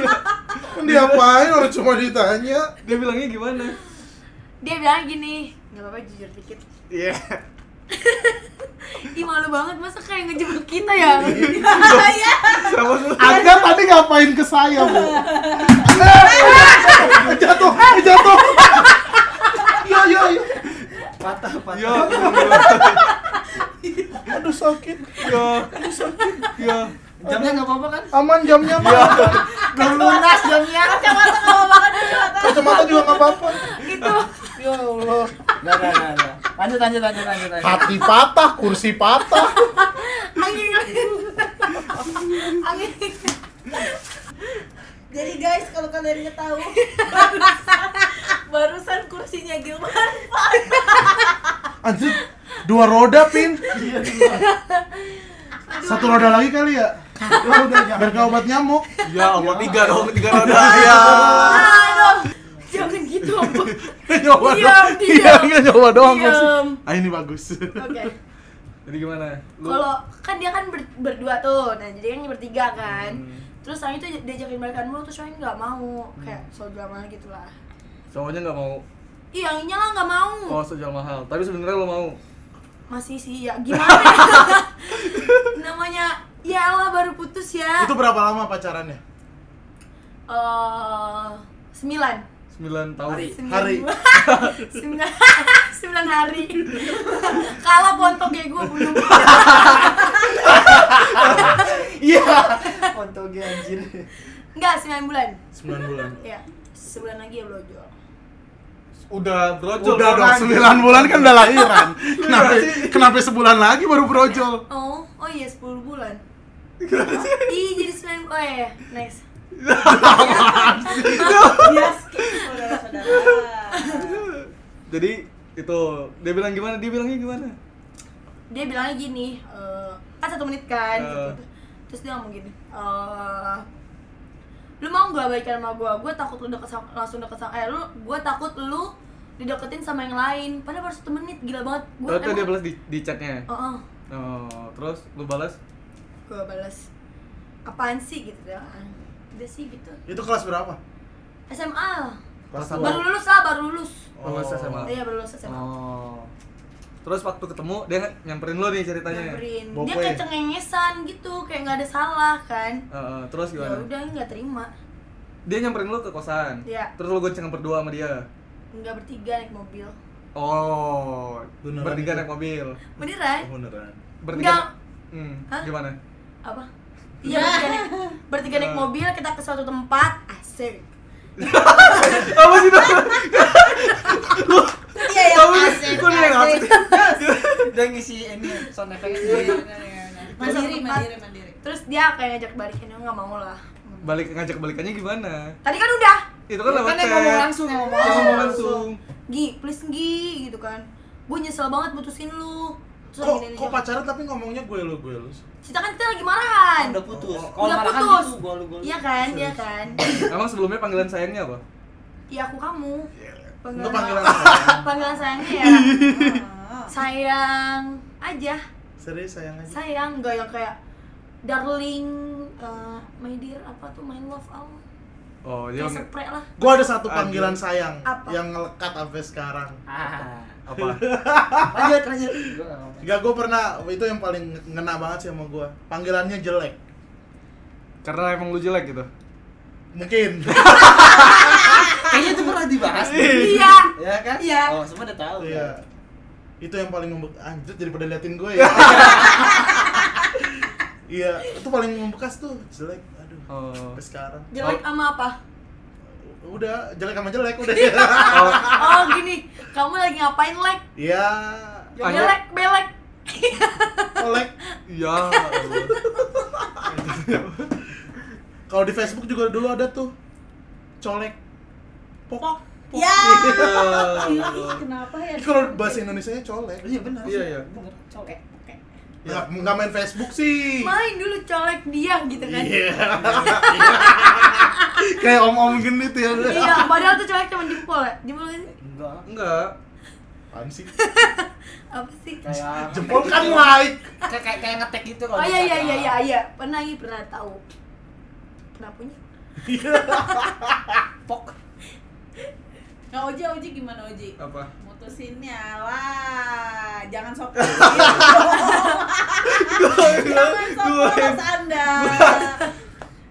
Speaker 1: Dia apain orang cuma ditanya
Speaker 2: Dia bilangnya gimana?
Speaker 7: dia bilang gini, nggak apa-apa jujur dikit.
Speaker 2: Iya.
Speaker 7: Ih malu banget masa kayak ngejebak kita ya. Iya.
Speaker 2: Sama lu.
Speaker 1: Anda tadi ngapain ke saya, Bu? Eh, jatuh, jatuh. Ya, ya, ya.
Speaker 6: patah patah
Speaker 2: Yo.
Speaker 1: Aduh sakit.
Speaker 2: Yo. Yo.
Speaker 7: Iya.
Speaker 6: jamnya nggak apa-apa kan
Speaker 1: Aman jamnya, Pak.
Speaker 6: belum lunas
Speaker 7: Iya,
Speaker 6: jamnya
Speaker 5: Kacamata nggak banget
Speaker 1: Kacamata juga nggak apa-apa.
Speaker 7: Itu
Speaker 1: Ya Allah.
Speaker 6: nggak nggak nggak, nggak lanjut lanjut lanjut lanjut lanjut
Speaker 1: Hati patah, kursi patah.
Speaker 7: angin angin. angin.
Speaker 5: Jadi guys, kalau kalian ingin tahu barusan kursinya Gilman
Speaker 1: Anjir, dua roda, Pin. Satu roda lagi kali ya? Biar nggak obat nyamuk.
Speaker 2: Ya Allah, tiga dong, tiga
Speaker 1: Iya,
Speaker 2: roda.
Speaker 7: Iya.
Speaker 2: Ya.
Speaker 7: Aduh. Jangan gitu, Om.
Speaker 1: Nyoba
Speaker 7: Diam,
Speaker 1: doang.
Speaker 7: diam.
Speaker 1: Iya, nggak nyoba doang. Bos.
Speaker 7: Diam.
Speaker 1: Ah, ini bagus.
Speaker 7: Oke.
Speaker 2: Jadi gimana? Lu
Speaker 7: Kalau kan dia kan ber- berdua tuh, nah jadi kan bertiga kan.
Speaker 2: Hmm.
Speaker 7: Terus Angin tuh diajakin balikan mulu, terus Angin nggak mau,
Speaker 5: Hmm.
Speaker 7: kayak soal drama gitu lah.
Speaker 2: cowoknya nggak mau
Speaker 7: Iya, Anginnya lah nggak mau.
Speaker 2: oh sejauh mahal. Tapi sebenarnya lo mau.
Speaker 7: Masih sih ya, gimana? ya? Namanya ya Allah baru putus ya.
Speaker 1: Itu berapa lama pacarannya?
Speaker 7: Eh, sembilan.
Speaker 2: 9 tahun.
Speaker 6: Hari.
Speaker 7: Sembilan
Speaker 1: Hari.
Speaker 7: sembilan, sembilan hari. Kalah pontok kayak gue belum.
Speaker 1: Iya.
Speaker 6: ontognya anjir
Speaker 7: Enggak, sembilan bulan.
Speaker 1: 9 bulan.
Speaker 7: Ya, sebulan lagi ya blojol.
Speaker 2: Udah brojol.
Speaker 1: Udah dong,
Speaker 2: orang.
Speaker 1: 9 bulan kan udah lahiran. Kenapa kenapa sebulan lagi baru brojol?
Speaker 7: Oh, oh iya 10 bulan. Ih, jadi 9 oh iya, iya. next.
Speaker 5: Yes, saudara-saudara
Speaker 2: Jadi itu dia bilang gimana? Dia bilangnya gimana?
Speaker 7: Dia bilangnya gini, eh kan satu menit kan gitu.
Speaker 2: Eh.
Speaker 7: Terus dia ngomong gini, eh lu mau gak baikan sama gua? Gua takut lu deket sama, langsung deket sama eh lu gua takut lu dideketin sama yang lain. Padahal baru satu menit gila banget. Gua
Speaker 2: Terus dia
Speaker 7: emang-
Speaker 2: balas di, di chatnya.
Speaker 7: Oh, oh.
Speaker 2: Oh, terus lu balas
Speaker 7: gua balas. Apaan sih gitu ya? Udah sih gitu.
Speaker 1: Itu kelas berapa?
Speaker 7: SMA.
Speaker 1: Kelas Oh,
Speaker 7: Baru lulus lah, baru lulus.
Speaker 2: Lulus SMA.
Speaker 7: Iya, baru lulus SMA.
Speaker 2: Oh. Terus waktu ketemu dia nyamperin lo nih ceritanya.
Speaker 7: nyamperin dia
Speaker 1: Bokoy.
Speaker 7: kayak cengengesan gitu kayak nggak ada salah kan
Speaker 2: Eh, eh, terus
Speaker 7: ya
Speaker 2: gimana?
Speaker 7: udah nggak terima
Speaker 2: Dia nyamperin lo ke kosan.
Speaker 7: Iya.
Speaker 2: Terus lo goncengan berdua sama dia.
Speaker 7: nggak bertiga naik mobil
Speaker 2: Oh,
Speaker 1: Beneran
Speaker 2: bertiga
Speaker 1: itu?
Speaker 2: naik mobil.
Speaker 7: beneran
Speaker 1: Beneran.
Speaker 2: Bertiga.
Speaker 7: Enggak.
Speaker 2: Hmm,
Speaker 7: Hah?
Speaker 2: gimana?
Speaker 7: apa iya bertiga naik bertiga naik
Speaker 2: Eh.
Speaker 7: mobil kita ke suatu tempat asik
Speaker 2: Apa sih itu?
Speaker 5: Iya ya,
Speaker 2: Kamu-
Speaker 5: asik,
Speaker 2: kok dia yang
Speaker 5: asik.
Speaker 6: dia ngisi ini sound effect
Speaker 5: Iya,
Speaker 6: ini
Speaker 5: iya, iya, iya. Mandiri, mandiri, mandiri
Speaker 7: terus dia kayak ngajak balikin aku nggak mau lah
Speaker 2: Balik ngajak balikannya gimana?
Speaker 7: tadi kan udah
Speaker 2: Itu kan lewat
Speaker 6: kan yang ngomong
Speaker 2: chat.
Speaker 6: langsung yang ngomong
Speaker 2: Dia
Speaker 6: langsung
Speaker 2: ngomong langsung.
Speaker 7: gi please gi gitu kan gue nyesel banget putusin lu terus
Speaker 1: Kok
Speaker 7: gini-gini. gitu.
Speaker 1: kok pacaran tapi ngomongnya gue lu gue lu.
Speaker 7: Cita kan kita lagi marahan
Speaker 6: udah putus
Speaker 1: Udah
Speaker 6: kalau
Speaker 7: udah
Speaker 6: marahan
Speaker 7: putus
Speaker 6: gitu gua lu gua lu.
Speaker 7: iya kan iya kan
Speaker 2: Emang sebelumnya panggilan sayangnya apa?
Speaker 7: iya aku kamu
Speaker 1: Itu panggilan
Speaker 7: panggilan sayangnya ya
Speaker 5: Ah.
Speaker 7: sayang aja
Speaker 1: Serius sayang aja.
Speaker 7: sayang gak yang kayak darling eh, my dear apa tuh my love all
Speaker 2: Oh, dia
Speaker 7: kayak
Speaker 2: nge-
Speaker 7: sepre lah
Speaker 1: Gue ada satu panggilan sayang
Speaker 7: Apa?
Speaker 1: yang ngelekat sampai sekarang.
Speaker 6: Ah.
Speaker 2: apa?
Speaker 6: lanjut lanjut Gua nggak ngomong.
Speaker 1: Enggak, gue pernah itu yang paling ngena banget sih sama gue. Panggilannya jelek.
Speaker 2: Karena emang lu jelek gitu.
Speaker 1: Mungkin.
Speaker 6: kayaknya itu pernah dibahas nih.
Speaker 7: iya
Speaker 6: ya kan
Speaker 7: Iya.
Speaker 6: oh semua udah tahu
Speaker 1: Iya. Itu yang paling membekas. Anjir jadi pada liatin gue ya. Iya, itu paling membekas tuh jelek. Aduh.
Speaker 2: Oh.
Speaker 1: Sampai sekarang.
Speaker 7: jelek
Speaker 2: Oh.
Speaker 7: sama apa
Speaker 1: Udah, jelek sama jelek udah.
Speaker 2: Oh,
Speaker 7: oh gini kamu lagi ngapain lek
Speaker 1: Iya.
Speaker 2: Anjir.
Speaker 7: belek belek
Speaker 1: Jelek.
Speaker 2: iya.
Speaker 1: Kalau di Facebook juga dulu ada tuh. Colek. Pok. Iya,
Speaker 5: Ya.
Speaker 2: Allah.
Speaker 7: Iya.
Speaker 5: Ih, Kenapa ya?
Speaker 1: Kalau bahasa Indonesia colek.
Speaker 6: iya benar
Speaker 2: Iya, iya.
Speaker 6: benar cowok
Speaker 5: Oke, oke.
Speaker 1: nggak nggak main Facebook sih
Speaker 7: main dulu colek dia gitu kan
Speaker 1: Iya. Kayak om-om gini tuh ya.
Speaker 7: iya padahal tuh colek cuma jempol ya jempol kan
Speaker 6: Enggak.
Speaker 2: Enggak.
Speaker 1: Apaan sih?
Speaker 7: apa sih
Speaker 6: Kayak
Speaker 1: Jempol kan like.
Speaker 6: kayak kayak, kayak ngetek gitu kalau.
Speaker 7: oh iya iya
Speaker 6: di-
Speaker 7: iya iya iya pernah iya pernah tahu pernah punya
Speaker 6: Pok.
Speaker 5: Nah Oji, Oji gimana Oji?
Speaker 2: Apa?
Speaker 5: Mutusinnya lah, jangan sok Jangan sok polos Anda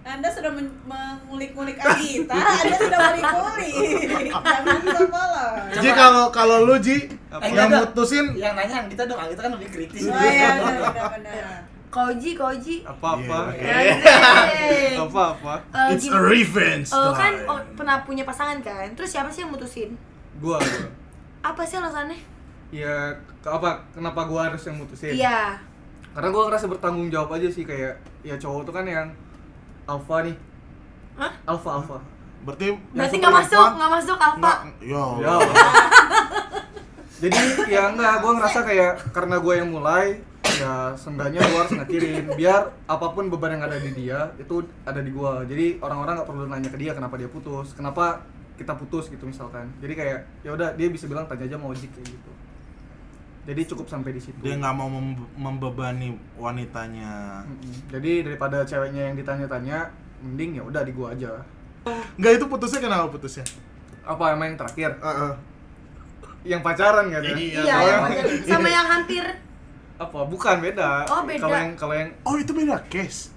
Speaker 5: Anda sudah men- mengulik-ngulik Agita, Anda sudah mengulik-ngulik Jangan sok polos
Speaker 7: Iya.
Speaker 1: Ji kalau kalau lu Ji
Speaker 7: Eh,
Speaker 2: Apa?
Speaker 1: yang
Speaker 6: Enggak.
Speaker 1: mutusin
Speaker 6: Yang nanya yang kita dong, kita kan lebih kritis.
Speaker 5: Oh iya, benar-benar
Speaker 7: koji koji
Speaker 2: Apa-apa.
Speaker 1: Iya.
Speaker 7: Asik.
Speaker 2: Apa-apa.
Speaker 7: Eh,
Speaker 1: It's
Speaker 7: gini.
Speaker 1: a revenge.
Speaker 7: Eh, kan
Speaker 1: time.
Speaker 7: oh, pernah punya pasangan kan terus siapa sih yang mutusin
Speaker 2: Gua. gua.
Speaker 7: apa sih alasannya
Speaker 2: Ya ke- apa kenapa gua harus yang mutusin?
Speaker 7: iya
Speaker 2: Karena gua ngerasa bertanggung jawab aja sih kayak ya cowok tuh kan yang alfa nih.
Speaker 7: Hah?
Speaker 2: Alfa alfa.
Speaker 1: Berarti
Speaker 7: berarti
Speaker 2: suka
Speaker 7: nggak
Speaker 2: perempuan,
Speaker 7: masuk nggak masuk apa
Speaker 1: enggak ya.
Speaker 2: Ya. Jadi ya enggak, gua ngerasa kayak karena gua yang mulai ya sendanya gua harus ngakirin biar apapun beban yang ada di dia itu ada di gua. Jadi orang-orang nggak perlu nanya ke dia kenapa dia putus, kenapa kita putus gitu misalkan. Jadi kayak ya udah dia bisa bilang tanya aja mau ojek kayak gitu. Jadi cukup sampai di situ.
Speaker 1: Dia nggak mau mem- membebani wanitanya.
Speaker 2: Mm-mm. Jadi daripada ceweknya yang ditanya-tanya, mending ya udah di gua aja.
Speaker 1: Enggak itu putusnya kenapa putusnya?
Speaker 2: Apa emang yang terakhir?
Speaker 1: Heeh.
Speaker 2: Yang pacaran kan? ya?
Speaker 1: Iya,
Speaker 7: iya yang
Speaker 1: soalnya-
Speaker 7: wajar. sama yang hampir
Speaker 2: Apa? Bukan beda.
Speaker 7: Oh, beda.
Speaker 2: Kalau yang kalau yang
Speaker 1: Oh itu beda case.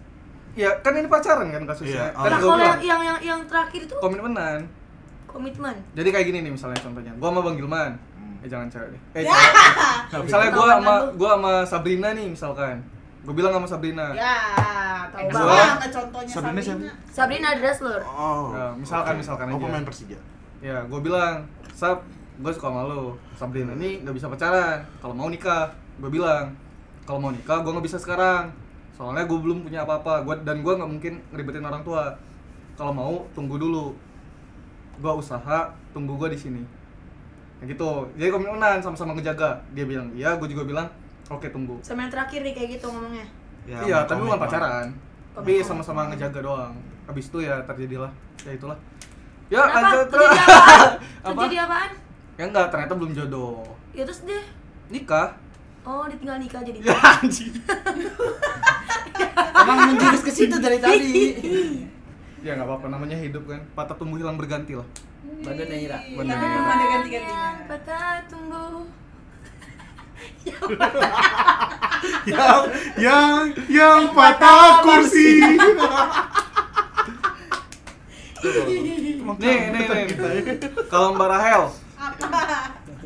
Speaker 2: ya kan ini pacaran kan kasusnya.
Speaker 1: Iya,
Speaker 2: Kan
Speaker 7: nah
Speaker 1: Tadi
Speaker 2: gua
Speaker 7: kalau yang,
Speaker 2: bilang,
Speaker 7: yang yang yang terakhir itu
Speaker 2: komitmenan.
Speaker 7: komitmen
Speaker 2: Jadi kayak gini nih misalnya contohnya. Gua sama Bang Gilman.
Speaker 1: Hmm.
Speaker 2: Eh jangan cewek deh. Eh cewek. misalnya gua sama
Speaker 7: kan
Speaker 2: gua sama Sabrina nih misalkan. Gua bilang sama Sabrina.
Speaker 5: Ya,
Speaker 7: Eh,
Speaker 5: tahu
Speaker 2: gua-
Speaker 5: banget contohnya
Speaker 1: Sabrina
Speaker 5: Sabrina
Speaker 1: siapa?
Speaker 7: Sabrina Dressler
Speaker 1: Oh.
Speaker 2: Ya, misalkan- misalkan
Speaker 1: Oh
Speaker 2: aja.
Speaker 1: pemain Persija.
Speaker 2: Ya, gua bilang, "Sab, gua suka sama lo. Sabrina ini nggak bisa pacaran. Kalau mau nikah, gua bilang, kalau mau nikah gua nggak bisa sekarang. Soalnya gua belum punya apa-apa. Gua dan gua nggak mungkin ngeribetin orang tua. Kalau mau tunggu dulu. Gua usaha tunggu gua di sini." Ya gitu. Jadi komitmenan sama-sama ngejaga. Dia bilang iya, gua juga bilang oke tunggu.
Speaker 7: sama yang terakhir nih kayak gitu ngomongnya
Speaker 1: Ya,
Speaker 2: iya,
Speaker 1: sama
Speaker 2: tapi bukan
Speaker 1: komitmen.
Speaker 2: pacaran. Tapi sama-sama ngejaga doang. Habis itu ya terjadilah ya itulah. Ya,
Speaker 7: kenapa
Speaker 2: lanjut.
Speaker 7: terjadi apaan
Speaker 2: Apa?
Speaker 7: terjadi apaan
Speaker 2: Ya enggak, ternyata belum jodoh.
Speaker 7: ya terus deh
Speaker 2: Nikah.
Speaker 7: oh ditinggal nikah jadi
Speaker 2: Ya anjing.
Speaker 6: Emang menjurus ke situ dari tadi.
Speaker 2: Ya enggak apa-apa namanya hidup kan. Patah tumbuh hilang berganti lah.
Speaker 6: Badan Naira.
Speaker 2: Bener.
Speaker 5: Tapi belum Iya, ada ganti-gantinya
Speaker 7: Yang patah Iya, tumbuh
Speaker 1: yang yang yang patah kursi.
Speaker 2: Nih, nih, nih. Kalau Mbak Rahel
Speaker 5: Apa?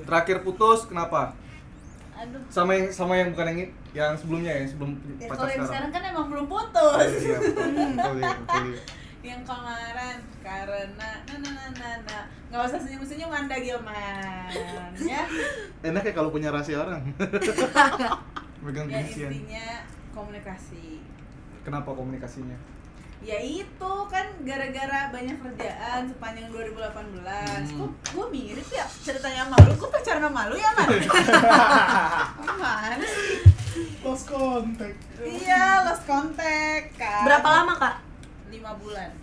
Speaker 2: terakhir putus kenapa?
Speaker 5: Aduh
Speaker 2: Sama yang sama yang bukan yang yang sebelumnya yang sebelum
Speaker 5: Ya,
Speaker 2: pacar
Speaker 5: kalau yang
Speaker 2: sekarang.
Speaker 5: sekarang kan Hmm. emang belum putus
Speaker 2: Iya, betul, betul, iya, betul, iya.
Speaker 5: yang kemarin karena na na na na na nggak usah senyum senyum anda Gilman ya
Speaker 1: Enak ya kalau punya rahasia orang.
Speaker 2: Megang
Speaker 5: ya
Speaker 2: bincian.
Speaker 5: intinya komunikasi
Speaker 2: Kenapa komunikasinya?
Speaker 5: ya itu kan gara-gara banyak kerjaan sepanjang 2018 kok gue mirip ya ceritanya sama lu gue pacaran sama lu ya man Apaan sih?
Speaker 1: Lost kontak.
Speaker 5: iya lost contact kan
Speaker 7: berapa lama kak
Speaker 5: lima bulan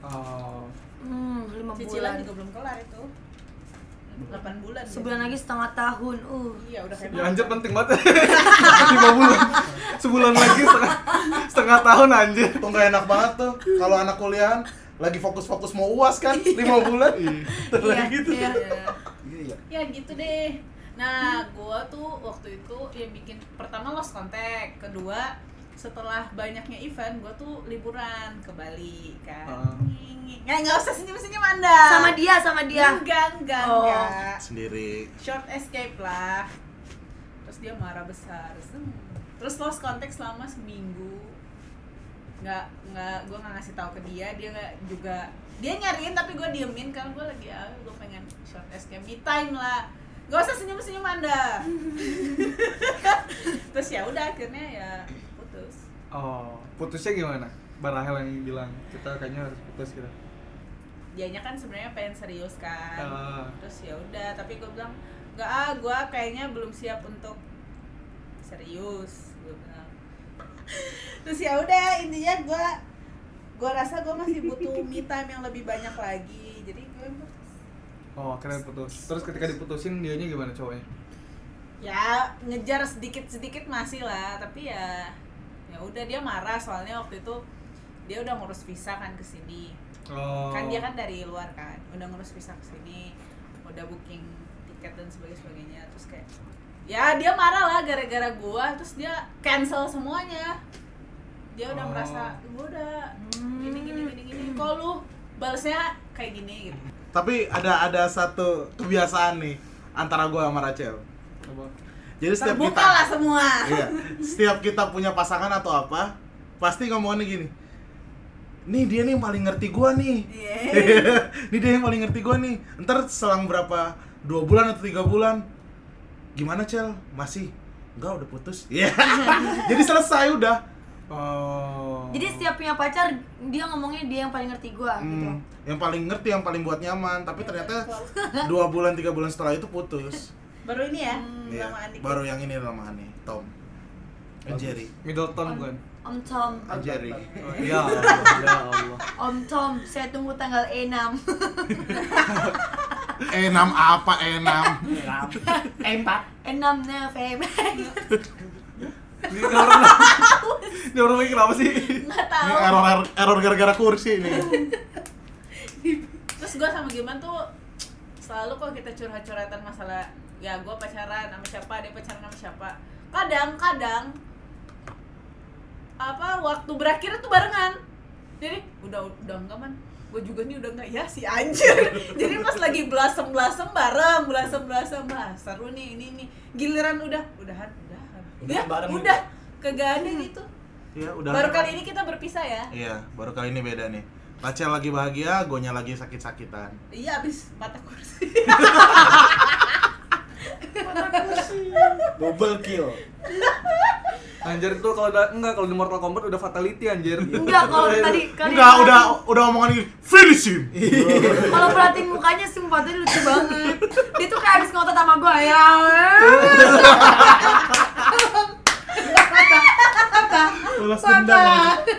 Speaker 2: Oh,
Speaker 7: hmm lima
Speaker 5: cicilan
Speaker 7: bulan
Speaker 5: juga belum kelar itu 8 bulan
Speaker 7: sebulan
Speaker 5: ya.
Speaker 7: lagi setengah tahun uh
Speaker 5: iya udah kayak
Speaker 2: ya anjir penting banget. Lima bulan. Sebulan lagi setengah, setengah tahun anjir.
Speaker 1: Tuh nggak enak banget tuh kalau anak kuliahan lagi fokus-fokus mau uas kan lima bulan. gitu.
Speaker 7: iya iya
Speaker 6: Iya.
Speaker 5: ya gitu deh nah gua tuh waktu itu yang bikin pertama lost contact kedua setelah banyaknya event gua tuh liburan ke Bali kan
Speaker 2: Ah.
Speaker 5: Nging-nging. nggak nggak usah senyum senyum anda
Speaker 7: sama dia sama dia
Speaker 5: enggak enggak
Speaker 7: Oh.
Speaker 1: Iya.
Speaker 5: enggak
Speaker 1: Sendiri.
Speaker 5: short escape lah terus dia marah besar Hmm. terus lost contact selama seminggu nggak nggak gue nggak ngasih tahu ke dia dia nggak juga dia nyariin tapi gue diemin karena gue lagi ah gue pengen short escape me time lah gak usah senyum senyum anda terus ya udah akhirnya ya putus
Speaker 2: Oh, putusnya gimana? Barahel yang bilang kita kayaknya harus putus gitu. kita.
Speaker 5: dianya kan sebenarnya pengen serius kan
Speaker 2: Ah.
Speaker 5: terus ya udah tapi gue bilang nggak ah gue kayaknya belum siap untuk serius gue bilang terus ya udah intinya gue gue rasa gue masih butuh me time yang lebih banyak lagi jadi gue
Speaker 2: Oh, akhirnya putus. Terus ketika diputusin dianya gimana cowoknya?
Speaker 5: ya ngejar sedikit sedikit masih lah tapi ya ya udah dia marah soalnya waktu itu dia udah ngurus visa kan ke sini
Speaker 2: Oh.
Speaker 5: kan dia kan dari luar kan udah ngurus visa ke sini udah booking tiket dan sebagainya sebagainya terus kayak ya dia marah lah gara-gara gua terus dia cancel semuanya dia udah
Speaker 2: Oh.
Speaker 5: merasa gua udah gini gini gini gini kok lu balesnya kayak gini gitu
Speaker 1: Tapi ada ada satu kebiasaan nih antara gua sama Rachel.
Speaker 2: Apa?
Speaker 1: Jadi setiap
Speaker 5: terbuka
Speaker 1: kita
Speaker 5: lah semua
Speaker 1: Iya. Setiap kita punya pasangan atau apa, pasti ngomongannya gini. Nih dia nih yang paling ngerti gua nih.
Speaker 5: Iya.
Speaker 1: nih dia yang paling ngerti gua nih. Ntar selang berapa? Dua bulan atau tiga bulan? Gimana Cel? Masih? Enggak udah putus. Iya. Jadi selesai udah.
Speaker 2: Oh.
Speaker 7: Jadi setiap punya pacar dia ngomongnya dia yang paling ngerti gua gitu.
Speaker 1: Hmm, yang paling ngerti, yang paling buat nyaman. Tapi ternyata dua bulan tiga bulan setelah itu putus.
Speaker 5: baru ini ya
Speaker 1: Iya.
Speaker 5: sama Andi
Speaker 1: Baru yang ini lama nih Tom. And Jerry.
Speaker 2: Middleton bukan?
Speaker 7: Om Tom,
Speaker 1: And Jerry. Iya.
Speaker 2: Oh, ya Allah, ya Allah.
Speaker 7: Om Tom, saya tunggu tanggal E6.
Speaker 1: E6 apa E6?
Speaker 6: Eh,
Speaker 7: E6 November.
Speaker 2: Ini ini orang Ini orang lagi kenapa sih?
Speaker 7: Enggak
Speaker 1: Ini
Speaker 7: tahu.
Speaker 1: error error gara-gara kursi nih.
Speaker 5: terus gue sama Giman tuh selalu kok kita curhat-curhatan masalah ya gue pacaran sama siapa dia pacaran sama siapa kadang-kadang apa waktu berakhir tuh barengan jadi udah udah enggak man gue juga nih udah enggak ya si anjir jadi pas lagi blasem blasem bareng blasem blasem bah seru nih ini nih giliran udah udahan udahan
Speaker 6: Udah
Speaker 5: ya,
Speaker 6: bareng
Speaker 5: udah kagak ada gitu
Speaker 1: Iya, udah.
Speaker 5: baru kali ini kita berpisah ya
Speaker 1: Iya, baru kali ini beda nih. Rachel lagi bahagia, gonya lagi sakit-sakitan.
Speaker 5: iya abis mata kursi
Speaker 6: Double kill.
Speaker 2: Anjir itu kalau udah enggak kalau di Mortal Kombat udah fatality anjir. Iya.
Speaker 7: Enggak kalau tadi kalian
Speaker 1: Enggak, udah udah omongan ini finish him.
Speaker 5: Iya.
Speaker 7: Kalau perhatiin mukanya sumpah tuh lucu banget. Dia tuh kayak habis ngotot sama gua ya.
Speaker 1: balas dendam.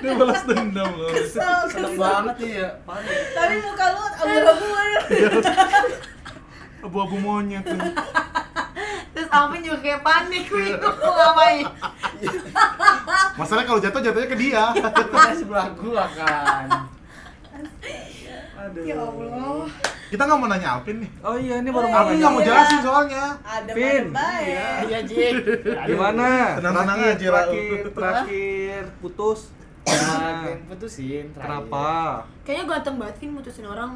Speaker 1: Dia balas dendam loh.
Speaker 6: Sedap banget nih ya. Panik.
Speaker 5: tapi muka lu abu-abu
Speaker 1: Abu-abu monyet tuh.
Speaker 7: Terus Alvin juga kayak panik bingung mau ngapain.
Speaker 1: Masalahnya kalau jatuh jatuhnya ke dia.
Speaker 6: Kita sebelah gua kan. Aduh.
Speaker 7: Ya Allah.
Speaker 1: Kita nggak mau nanya Alvin nih.
Speaker 2: Oh iya, ini baru
Speaker 1: Alvin nggak mau
Speaker 5: iya.
Speaker 1: jelasin soalnya.
Speaker 5: ada
Speaker 2: Vin,
Speaker 5: baik
Speaker 6: Iya, Ji.
Speaker 2: Gimana?
Speaker 1: Tenang-tenang
Speaker 2: Terakhir,
Speaker 1: aja, Raul.
Speaker 2: terakhir, terakhir putus.
Speaker 6: Nah,
Speaker 2: Nah,
Speaker 6: putusin. terakhir.
Speaker 2: kenapa?
Speaker 7: Kayaknya ganteng banget sih mutusin orang.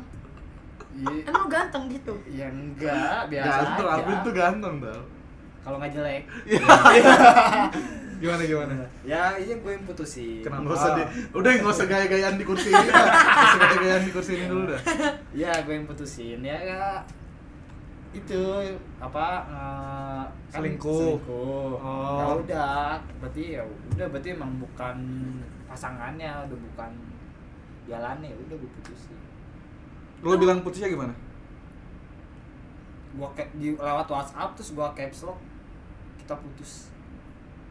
Speaker 6: Iya.
Speaker 7: Emang ganteng gitu.
Speaker 1: Hmm.
Speaker 6: Ya enggak, biasa
Speaker 1: Ganteng,
Speaker 6: aja.
Speaker 1: Alvin tuh ganteng tau.
Speaker 6: Kalau nggak jelek.
Speaker 2: Gimana gimana?
Speaker 6: Ya, iya gue yang putusin.
Speaker 2: Kenapa?
Speaker 1: Nggak usah di, udah nggak usah gaya-gayaan di kursi ini. dah. Nggak usah gaya-gayaan di kursi ini dulu dah.
Speaker 6: Ya, gue yang putusin. Ya, ya itu apa eh, kan
Speaker 2: Selingkuh.
Speaker 6: selingkuh.
Speaker 2: Oh.
Speaker 6: Ya udah berarti ya udah berarti emang bukan pasangannya udah bukan jalannya ya udah gue putusin
Speaker 2: Lu bilang putusnya gimana?
Speaker 6: gua cap, di, lewat WhatsApp terus gua caps lock kita putus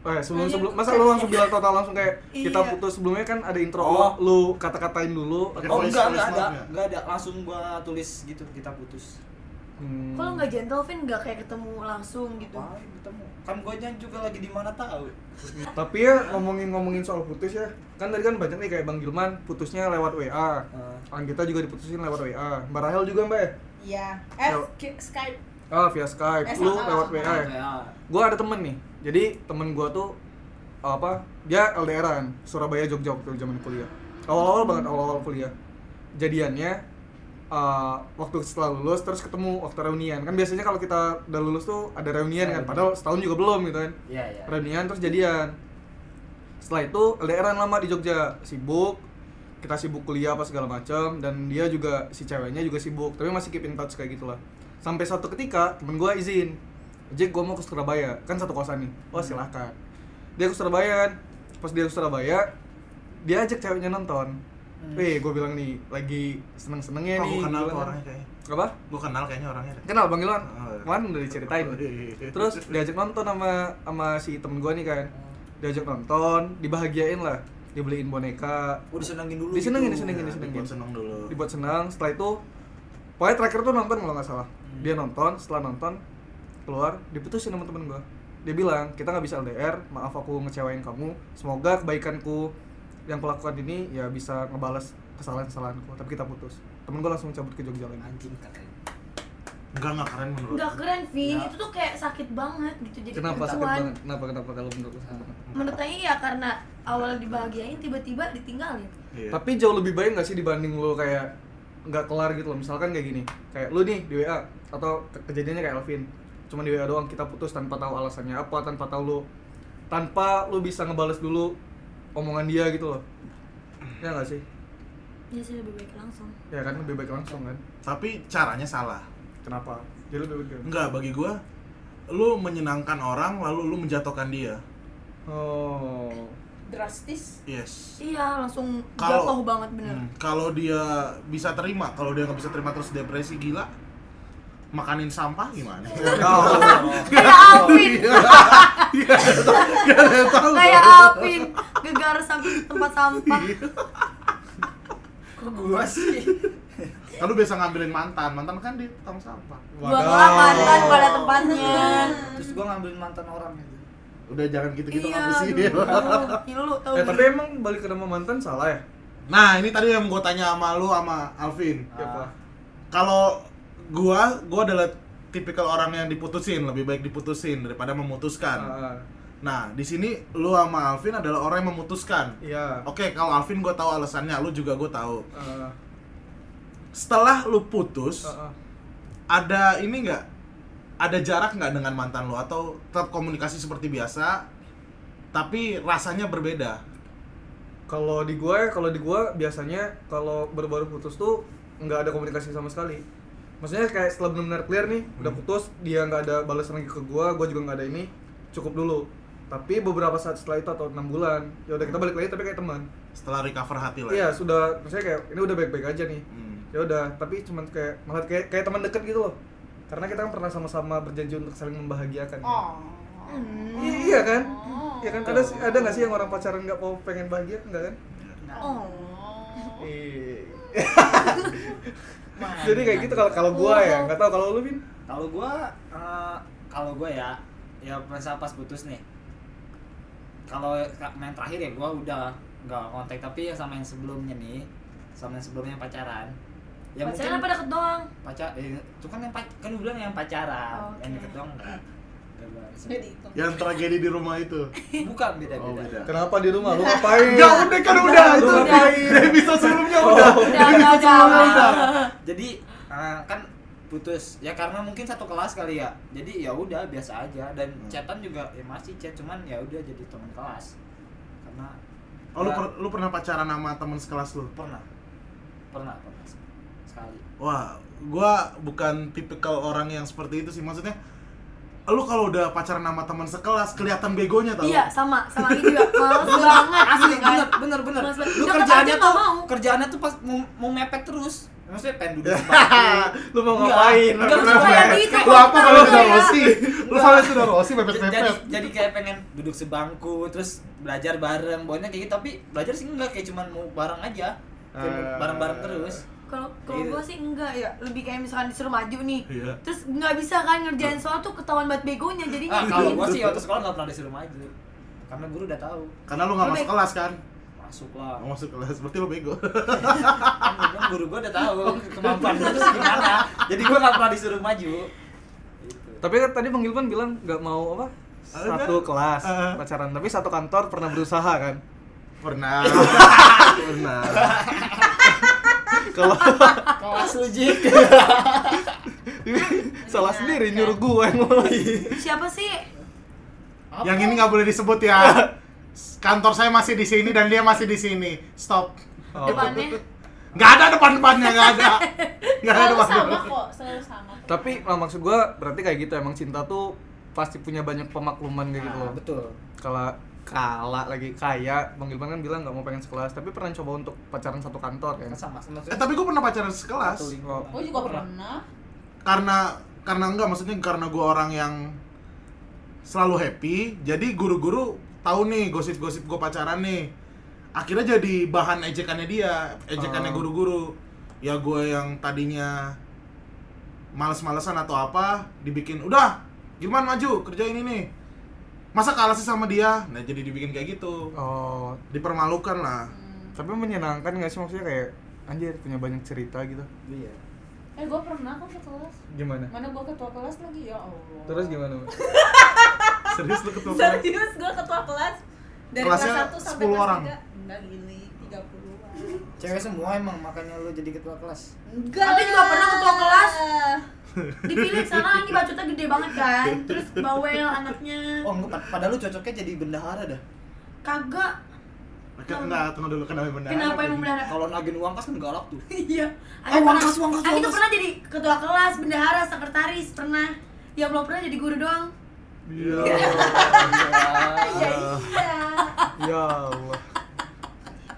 Speaker 2: Oh
Speaker 5: Iya,
Speaker 2: ya, sebelum sebelum masa lu langsung bilang total langsung kayak kita putus sebelumnya kan ada intro
Speaker 6: Oh.
Speaker 2: lo, lu kata-katain dulu.
Speaker 1: Pakai
Speaker 6: oh
Speaker 1: voice-
Speaker 6: enggak
Speaker 1: voice
Speaker 6: enggak ada
Speaker 1: note nggak?
Speaker 6: enggak ada langsung gua tulis gitu kita putus
Speaker 2: Hmm.
Speaker 7: Kalau nggak gentle Vin nggak kayak ketemu langsung gitu.
Speaker 6: Wah, ketemu kan gua juga lagi di mana tahu
Speaker 2: Tapi ya ngomongin-ngomongin soal putus ya, kan tadi kan banyak nih kayak Bang Gilman putusnya lewat WA.
Speaker 6: Eh,
Speaker 2: Anggita juga diputusin lewat WA. Mbak Rahel juga Mbak ya?
Speaker 5: iya eh
Speaker 2: Yo.
Speaker 5: Ki- Skype
Speaker 2: Ah, via Skype.
Speaker 5: Eh,
Speaker 2: Lu
Speaker 5: sama,
Speaker 2: lewat
Speaker 5: sama.
Speaker 6: Iya,
Speaker 2: WA. ya?
Speaker 6: kayak
Speaker 2: Gua ada temen nih. Jadi temen gua tuh apa? Dia LDRan Surabaya Jogja waktu zaman kuliah. Awal-awal banget awal-awal kuliah. Jadiannya eh, waktu setelah lulus terus ketemu waktu reunian. Kan biasanya kalau kita udah lulus tuh ada reunian kan. Padahal setahun juga belum gitu kan.
Speaker 6: ya ya
Speaker 2: reunian terus jadian setelah itu LDRan lama di Jogja sibuk kita sibuk kuliah apa segala macam dan dia juga si ceweknya juga sibuk tapi masih keep in touch kayak gitulah sampai satu ketika temen gue izin Jack gue mau ke Surabaya kan satu kosan nih oh
Speaker 1: Hmm.
Speaker 2: silahkan dia ke Surabaya pas dia ke Surabaya dia ajak ceweknya nonton Eh, gue bilang nih, lagi seneng-senengnya
Speaker 1: Oh,
Speaker 2: nih.
Speaker 1: gue Hmm. kenal
Speaker 2: bilang
Speaker 1: tuh
Speaker 2: kan.
Speaker 1: orangnya kayaknya.
Speaker 2: Apa?
Speaker 1: Gue kenal kayaknya orangnya. deh.
Speaker 2: Kenal Bang Ilwan?
Speaker 1: Oh. iya,
Speaker 2: Kemarin udah diceritain. Terus diajak nonton sama sama si temen gue nih kan. Diajak nonton, dibahagiain lah. Dibeliin boneka,
Speaker 3: Oh disenengin dulu.
Speaker 2: Disenengin,
Speaker 3: gitu.
Speaker 2: disenengin,
Speaker 1: Nah,
Speaker 2: disenengin.
Speaker 1: dibuat seneng dulu.
Speaker 2: Dibuat senang, setelah itu Pokoknya terakhir tuh nonton kalau nggak salah.
Speaker 1: Hmm.
Speaker 2: Dia nonton, setelah nonton keluar diputusin sama temen gue. Dia bilang kita nggak bisa LDR, maaf aku ngecewain kamu. Semoga kebaikanku yang kulakukan ini ya bisa ngebalas kesalahan-kesalahanku. Tapi kita putus. Temen gue langsung cabut ke Jogja lagi.
Speaker 6: Anjing katanya.
Speaker 1: Enggak enggak keren menurut.
Speaker 7: nggak
Speaker 1: gue.
Speaker 7: keren Vin
Speaker 6: Nggak.
Speaker 7: itu tuh kayak sakit banget gitu jadi
Speaker 2: Kenapa sakit
Speaker 7: perempuan.
Speaker 2: banget? Kenapa kenapa kalau menurut lu sakit banget?
Speaker 7: menurut saya ya karena awal dibahagiain tiba-tiba ya. ditinggalin
Speaker 1: Iya.
Speaker 2: Tapi jauh lebih baik nggak sih dibanding lu kayak nggak kelar gitu loh. Misalkan kayak gini, kayak lu nih di WA atau ke- kejadiannya kayak Alvin, cuma di WA doang kita putus tanpa tahu alasannya apa, tanpa tahu lu tanpa lu bisa ngebales dulu omongan dia gitu loh. Ya nggak sih?
Speaker 7: ya sih lebih baik langsung
Speaker 2: Ya kan lebih baik langsung kan.
Speaker 1: Tapi caranya salah.
Speaker 2: Kenapa? Jadi lebih baik. kan?
Speaker 1: Enggak bagi gue lu menyenangkan orang lalu lu menjatuhkan dia.
Speaker 2: Oh.
Speaker 5: drastis
Speaker 1: Yes.
Speaker 7: iya langsung
Speaker 1: Kalau-
Speaker 7: jatuh banget bener
Speaker 1: Hmm, kalau dia bisa terima, kalau dia nggak bisa terima terus depresi gila, makanin sampah gimana?
Speaker 7: kayak Alvin kayak Alvin gegar sampai tempat sampah
Speaker 6: Kok gua sih?
Speaker 1: Kalau biasa ngambilin mantan, mantan kan di tong sampah.
Speaker 7: buanglah mantan pada tempatnya
Speaker 6: Terus gua ngambilin mantan orang gitu.
Speaker 1: Udah jangan gitu-gitu Gitu
Speaker 7: iya
Speaker 1: apa sih?
Speaker 7: aduh. Gila lu tau
Speaker 2: Eh, tapi
Speaker 7: gak?
Speaker 2: emang balik ke nama mantan salah ya?
Speaker 1: Nah, ini tadi yang gue tanya sama lu sama Alvin.
Speaker 2: Ya, Pak.
Speaker 1: Kalau gua, gua adalah tipikal orang yang diputusin, lebih baik diputusin daripada memutuskan.
Speaker 2: Ah,
Speaker 1: Nah, di sini lu sama Alvin adalah orang yang memutuskan.
Speaker 2: Iya.
Speaker 1: Oke, kalau Alvin gua tahu alasannya, lu juga gua tahu.
Speaker 2: Ah,
Speaker 1: Setelah lu putus,
Speaker 2: ah, ah.
Speaker 1: ada ini nggak ada jarak nggak dengan mantan lo atau tetap komunikasi seperti biasa tapi rasanya berbeda
Speaker 2: Kalau di gue, kalau di gue biasanya kalau baru-baru putus tuh nggak ada komunikasi sama sekali. Maksudnya kayak setelah benar-benar clear nih, udah putus, dia nggak ada balasan lagi ke gue, gue juga nggak ada ini, cukup dulu. Tapi beberapa saat setelah itu atau enam bulan, ya udah kita balik lagi tapi kayak teman.
Speaker 1: setelah recover hati lah ya?
Speaker 2: Iya sudah, maksudnya kayak ini udah baik-baik aja nih.
Speaker 1: Hmm.
Speaker 2: Ya udah, tapi cuman kayak malah kayak kayak teman dekat gitu loh. Karena kita kan pernah sama-sama berjanji untuk saling membahagiakan. ya.
Speaker 5: Oh.
Speaker 2: I- Iya kan? Iya kan ada ada nggak sih yang orang pacaran nggak mau pengen bahagia nggak kan?
Speaker 6: Nah,
Speaker 7: oh
Speaker 2: Iya.
Speaker 6: Mana?
Speaker 2: Jadi kayak gitu kalau kalau gua ya, nggak tahu kalau lu Vin.
Speaker 6: kalau gua eh, kalau gua ya ya masa pas putus nih kalau ka- main terakhir ya gua udah nggak kontak tapi ya sama yang sebelumnya nih sama yang sebelumnya yang pacaran ya
Speaker 7: pacaran
Speaker 6: mungkin
Speaker 7: apa deket doang
Speaker 6: pacar eh, itu kan yang pac- kan lu bilang yang pacaran
Speaker 7: Oke.
Speaker 6: yang deket doang enggak
Speaker 5: jadi itu
Speaker 2: Ya,
Speaker 1: yang tragedi di rumah itu
Speaker 6: bukan beda beda,
Speaker 1: oh beda
Speaker 2: Kenapa di rumah lu ngapain?
Speaker 1: Enggak, udah kan udah itu
Speaker 2: Udah.
Speaker 1: dari episode sebelumnya udah
Speaker 7: Iya. Oh. udah udah udah, udah.
Speaker 6: jadi eh, kan putus ya karena mungkin satu kelas kali ya jadi ya udah biasa aja dan
Speaker 7: Hmm.
Speaker 6: chatan juga ya masih chat cuman ya udah jadi teman kelas karena
Speaker 1: oh lu, per- lu pernah pacaran sama teman sekelas lu
Speaker 6: pernah pernah pernah sekali
Speaker 1: wah gua bukan tipikal orang yang seperti itu sih maksudnya lu kalau udah pacaran sama teman sekelas kelihatan begonya tau
Speaker 7: iya sama sama ini juga males banget
Speaker 6: asli
Speaker 7: iya kan?
Speaker 6: bener bener bener
Speaker 7: Mas,
Speaker 6: lu
Speaker 7: udah
Speaker 6: kerjaannya
Speaker 7: ketemu
Speaker 6: tuh
Speaker 7: nggak mau.
Speaker 6: kerjaannya tuh pas mau, mau mepet terus maksudnya pengen duduk
Speaker 2: Lu mau
Speaker 6: Enggak.
Speaker 2: ngapain?
Speaker 6: Enggak,
Speaker 2: Lu
Speaker 6: maksud gua
Speaker 2: ngapain?
Speaker 7: tadi itu
Speaker 2: Lu apa kalau
Speaker 7: fakta
Speaker 2: udah
Speaker 7: ya.
Speaker 2: Rossi?
Speaker 1: lu sampai sudah rosi mepet
Speaker 6: jadi
Speaker 1: mepet
Speaker 6: jadi kayak pengen duduk sebangku terus belajar bareng bawanya kayak gitu tapi belajar sih enggak kayak cuman mau bareng aja
Speaker 2: Eh.
Speaker 6: bareng bareng terus
Speaker 7: kalau kalau
Speaker 6: Iya.
Speaker 7: gua sih enggak ya lebih kayak misalkan disuruh maju nih
Speaker 1: Iya.
Speaker 7: terus nggak bisa kan ngerjain soal tuh ketahuan banget begonya jadi
Speaker 6: ah kalau gua sih waktu sekolah nggak pernah disuruh maju karena guru udah tahu
Speaker 1: karena lu nggak
Speaker 7: Lu
Speaker 1: masuk
Speaker 7: bego.
Speaker 1: kelas kan
Speaker 6: masuk lah
Speaker 2: Oh.
Speaker 1: nggak masuk kelas berarti lu bego
Speaker 6: kan gua bilang guru gua udah tahu kemampuan gua terus gimana jadi gua nggak pernah disuruh maju Gitu.
Speaker 2: Tapi kan tadi Bang Gilman bilang nggak mau apa? Satu kelas
Speaker 1: Eh.
Speaker 2: pacaran, tapi satu kantor pernah berusaha kan?
Speaker 1: pernah pernah
Speaker 2: Kalau
Speaker 6: Ah, kelas lu Jik
Speaker 2: salah sendiri nyuruh gua yang mulai.
Speaker 7: siapa sih
Speaker 1: yang ini nggak boleh disebut ya kantor saya masih di sini dan dia masih di sini stop
Speaker 2: Oh.
Speaker 7: depannya
Speaker 1: nggak ada depan depannya nggak ada nggak ada
Speaker 5: selalu
Speaker 1: depan
Speaker 5: sama kok selalu sama
Speaker 2: Tapi nah, maksud gua berarti kayak gitu emang cinta tuh pasti punya banyak pemakluman kayak gitu
Speaker 6: Nah,
Speaker 2: loh.
Speaker 6: betul
Speaker 2: Kalau kala lagi kaya bang Gilman kan bilang nggak mau pengen sekelas tapi pernah coba untuk pacaran satu kantor kan
Speaker 6: kan sama sama
Speaker 1: Eh tapi gue pernah pacaran sekelas
Speaker 5: iya.
Speaker 6: satu lingkungan.
Speaker 5: Gue juga pernah.
Speaker 1: karena karena enggak maksudnya karena gue orang yang selalu happy jadi guru-guru tahu nih gosip-gosip gue pacaran nih akhirnya jadi bahan ejekannya dia ejekannya
Speaker 2: Oh.
Speaker 1: guru-guru ya gue yang tadinya males-malesan atau apa dibikin udah gimana maju kerja ini nih masa kalah sih sama dia nah jadi dibikin kayak gitu
Speaker 2: oh
Speaker 1: dipermalukan lah
Speaker 5: Hmm.
Speaker 2: tapi menyenangkan nggak sih maksudnya kayak anjir punya banyak cerita gitu
Speaker 6: Iya.
Speaker 5: Eh gue pernah kan sekelas.
Speaker 2: gimana
Speaker 5: Mana gue ketua kelas lagi ya Allah.
Speaker 2: terus gimana Mbak?
Speaker 1: serius lu ketemu
Speaker 5: Serius gue ketua kelas dari
Speaker 1: Kelasnya
Speaker 5: kelas 1 sampai
Speaker 1: 10
Speaker 5: kelas
Speaker 1: orang.
Speaker 5: 3. Enggak gini, 30-an.
Speaker 6: Cewek semua emang makanya lu jadi ketua kelas.
Speaker 5: Enggak.
Speaker 7: Tapi juga pernah ketua kelas. dipilih sana ini bacotnya gede banget kan terus bawel anaknya
Speaker 6: Oh, enggak, pad- padahal lu cocoknya jadi bendahara dah.
Speaker 7: kagak
Speaker 1: Enggak, tunggu dulu kenapa benar
Speaker 7: kenapa yang bendahara
Speaker 6: Kalau nagin uang kas kan galak tuh.
Speaker 7: iya
Speaker 6: Eh, wangkas, wangkas,
Speaker 7: Aki tuh
Speaker 6: wangkas.
Speaker 7: pernah jadi ketua kelas bendahara sekretaris pernah ya belum pernah jadi guru doang
Speaker 1: Iya.
Speaker 5: Iya, iya.
Speaker 2: ya Allah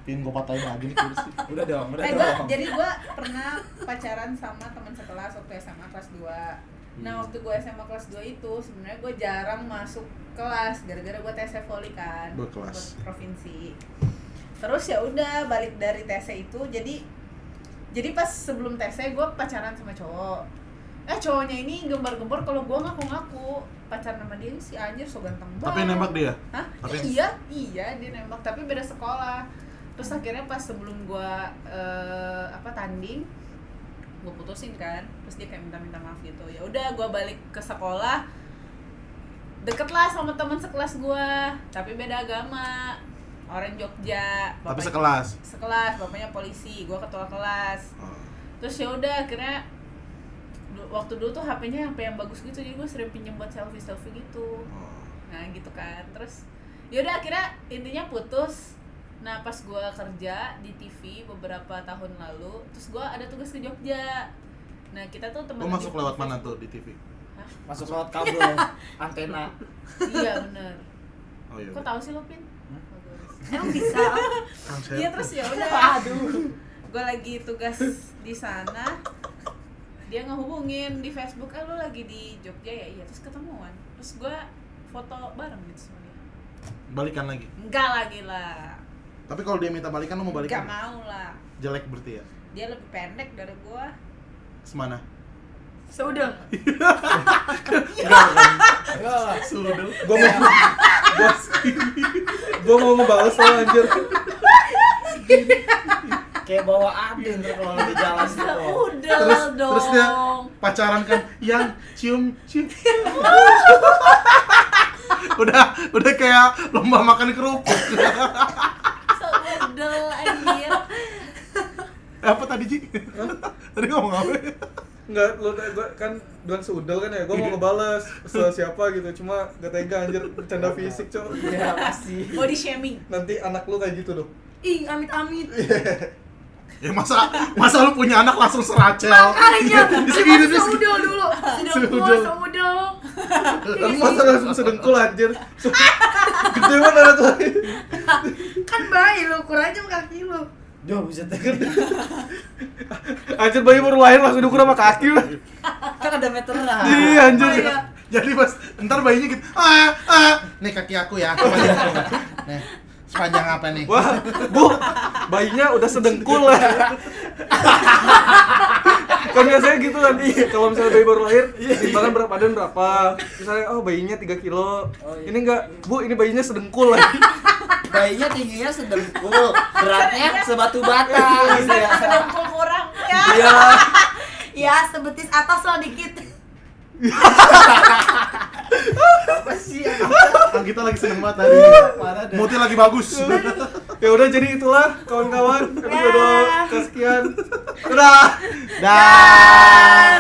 Speaker 6: Pin gua patahin lagi nih kursi. Udah dong, udah
Speaker 5: Eh, gua,
Speaker 6: dong.
Speaker 5: jadi gue pernah pacaran sama teman sekelas waktu SMA kelas 2
Speaker 1: Hmm.
Speaker 5: Nah waktu gue SMA kelas 2 itu sebenarnya gue jarang masuk kelas gara-gara gue TC voli kan
Speaker 1: Gua kelas.
Speaker 5: Buat provinsi Terus ya udah balik dari TC itu jadi jadi pas sebelum TC gue pacaran sama cowok Eh cowoknya ini gembar-gembar kalau gue ngaku-ngaku pacaran sama dia si anjir so ganteng banget
Speaker 1: Tapi nembak dia.
Speaker 5: Hah?
Speaker 1: Tapi-
Speaker 5: Iya, iya dia nembak tapi beda sekolah. Terus akhirnya pas sebelum gua eh, apa tanding gua putusin kan. Terus dia kayak minta-minta maaf gitu. Ya udah gua balik ke sekolah. Deket lah sama teman sekelas gua, tapi beda agama. Orang Jogja.
Speaker 1: Tapi
Speaker 5: bapaknya-
Speaker 1: sekelas.
Speaker 5: Sekelas, bapaknya polisi, gua ketua kelas.
Speaker 1: Oh.
Speaker 5: Terus ya udah akhirnya du- waktu dulu tuh HP-nya HP yang bagus gitu jadi gua sering pinjem buat selfie-selfie gitu
Speaker 1: Oh.
Speaker 5: nah gitu kan terus yaudah akhirnya intinya putus nah pas gue kerja di TV beberapa tahun lalu terus gue ada tugas ke Jogja nah kita tuh teman
Speaker 1: Lu masuk lewat mana tuh di TV?
Speaker 6: Masuk lewat kabel antena.
Speaker 5: iya bener
Speaker 1: Oh iya.
Speaker 5: kok tahu sih lo pin
Speaker 6: Hmm?
Speaker 5: Bagus.
Speaker 7: emang bisa
Speaker 1: Kang Sep.
Speaker 5: iya terus ya udah aduh gue lagi tugas di sana dia ngehubungin di Facebook eh lu lagi di Jogja ya iya terus ketemuan terus gue foto bareng gitu sama dia
Speaker 1: balikan lagi.
Speaker 5: enggak lagi lah
Speaker 1: Tapi kalau dia minta balikan lu mau
Speaker 5: gila.
Speaker 1: balikan?
Speaker 5: enggak mau lah
Speaker 1: Jelek berarti ya.
Speaker 5: dia lebih pendek dari gua
Speaker 1: Semana?
Speaker 7: sudah
Speaker 6: Enggak.
Speaker 1: Sudut.
Speaker 2: gua mau gua, gua mau ngebales lo anjir
Speaker 6: Kayak bawa aden tuh kalau di jalan tuh.
Speaker 7: udah
Speaker 1: Iya. Terus
Speaker 7: dong
Speaker 1: terus dia pacaran kan yang cium cium. udah udah kayak lomba makan kerupuk.
Speaker 7: udah anjir
Speaker 1: apa tadi Ji? tadi ngomong apa?
Speaker 2: Enggak, lo gua kan bilang seudel kan ya, gua mau ngebales se siapa gitu, cuma gak tega anjir, bercanda fisik cok
Speaker 6: Iya, pasti.
Speaker 5: body shaming
Speaker 2: Nanti anak lu kayak gitu dong
Speaker 7: ih amit amit
Speaker 1: Ya masa masa lu punya anak langsung seracel.
Speaker 7: makanya
Speaker 1: Di
Speaker 7: dia
Speaker 1: sini,
Speaker 7: masih
Speaker 1: di sini.
Speaker 7: seudel dulu sedang gua
Speaker 1: Seudel.
Speaker 7: seudel
Speaker 2: Lu masa Kan langsung sedengkul anjir Gede banget anak lu
Speaker 7: kan bayi lu ukur aja kaki lu
Speaker 6: Duh, bisa tegur.
Speaker 2: Anjir bayi baru lahir langsung diukur sama kaki lu
Speaker 6: Kan ada meteran.
Speaker 2: Iya anjir
Speaker 7: Iya.
Speaker 1: Jadi pas ntar bayinya gitu, ah, ah. nih kaki aku ya, sepanjang apa? Nih, sepanjang apa nih?
Speaker 2: Wah, bu, bayinya udah sedengkul lah kan biasanya gitu kan kalau misalnya bayi baru lahir
Speaker 6: Iya,
Speaker 2: timbangan berat badan berapa misalnya oh bayinya 3 kilo
Speaker 6: Oh, iya.
Speaker 2: ini enggak bu ini bayinya sedengkul lah
Speaker 6: Bayinya tingginya sedengkul,
Speaker 5: Iya.
Speaker 6: beratnya sebatu bata gitu ya.
Speaker 5: sedengkul kurang ya
Speaker 2: Iya.
Speaker 7: ya sebetis atas lah dikit
Speaker 6: Apa sih?
Speaker 1: Kan kita lagi seneng banget hari ini.
Speaker 6: Parah deh.
Speaker 1: Moodnya lagi bagus.
Speaker 2: ya udah jadi itulah kawan-kawan episode
Speaker 7: Dah.
Speaker 2: kesekian. Udah.
Speaker 1: Dah.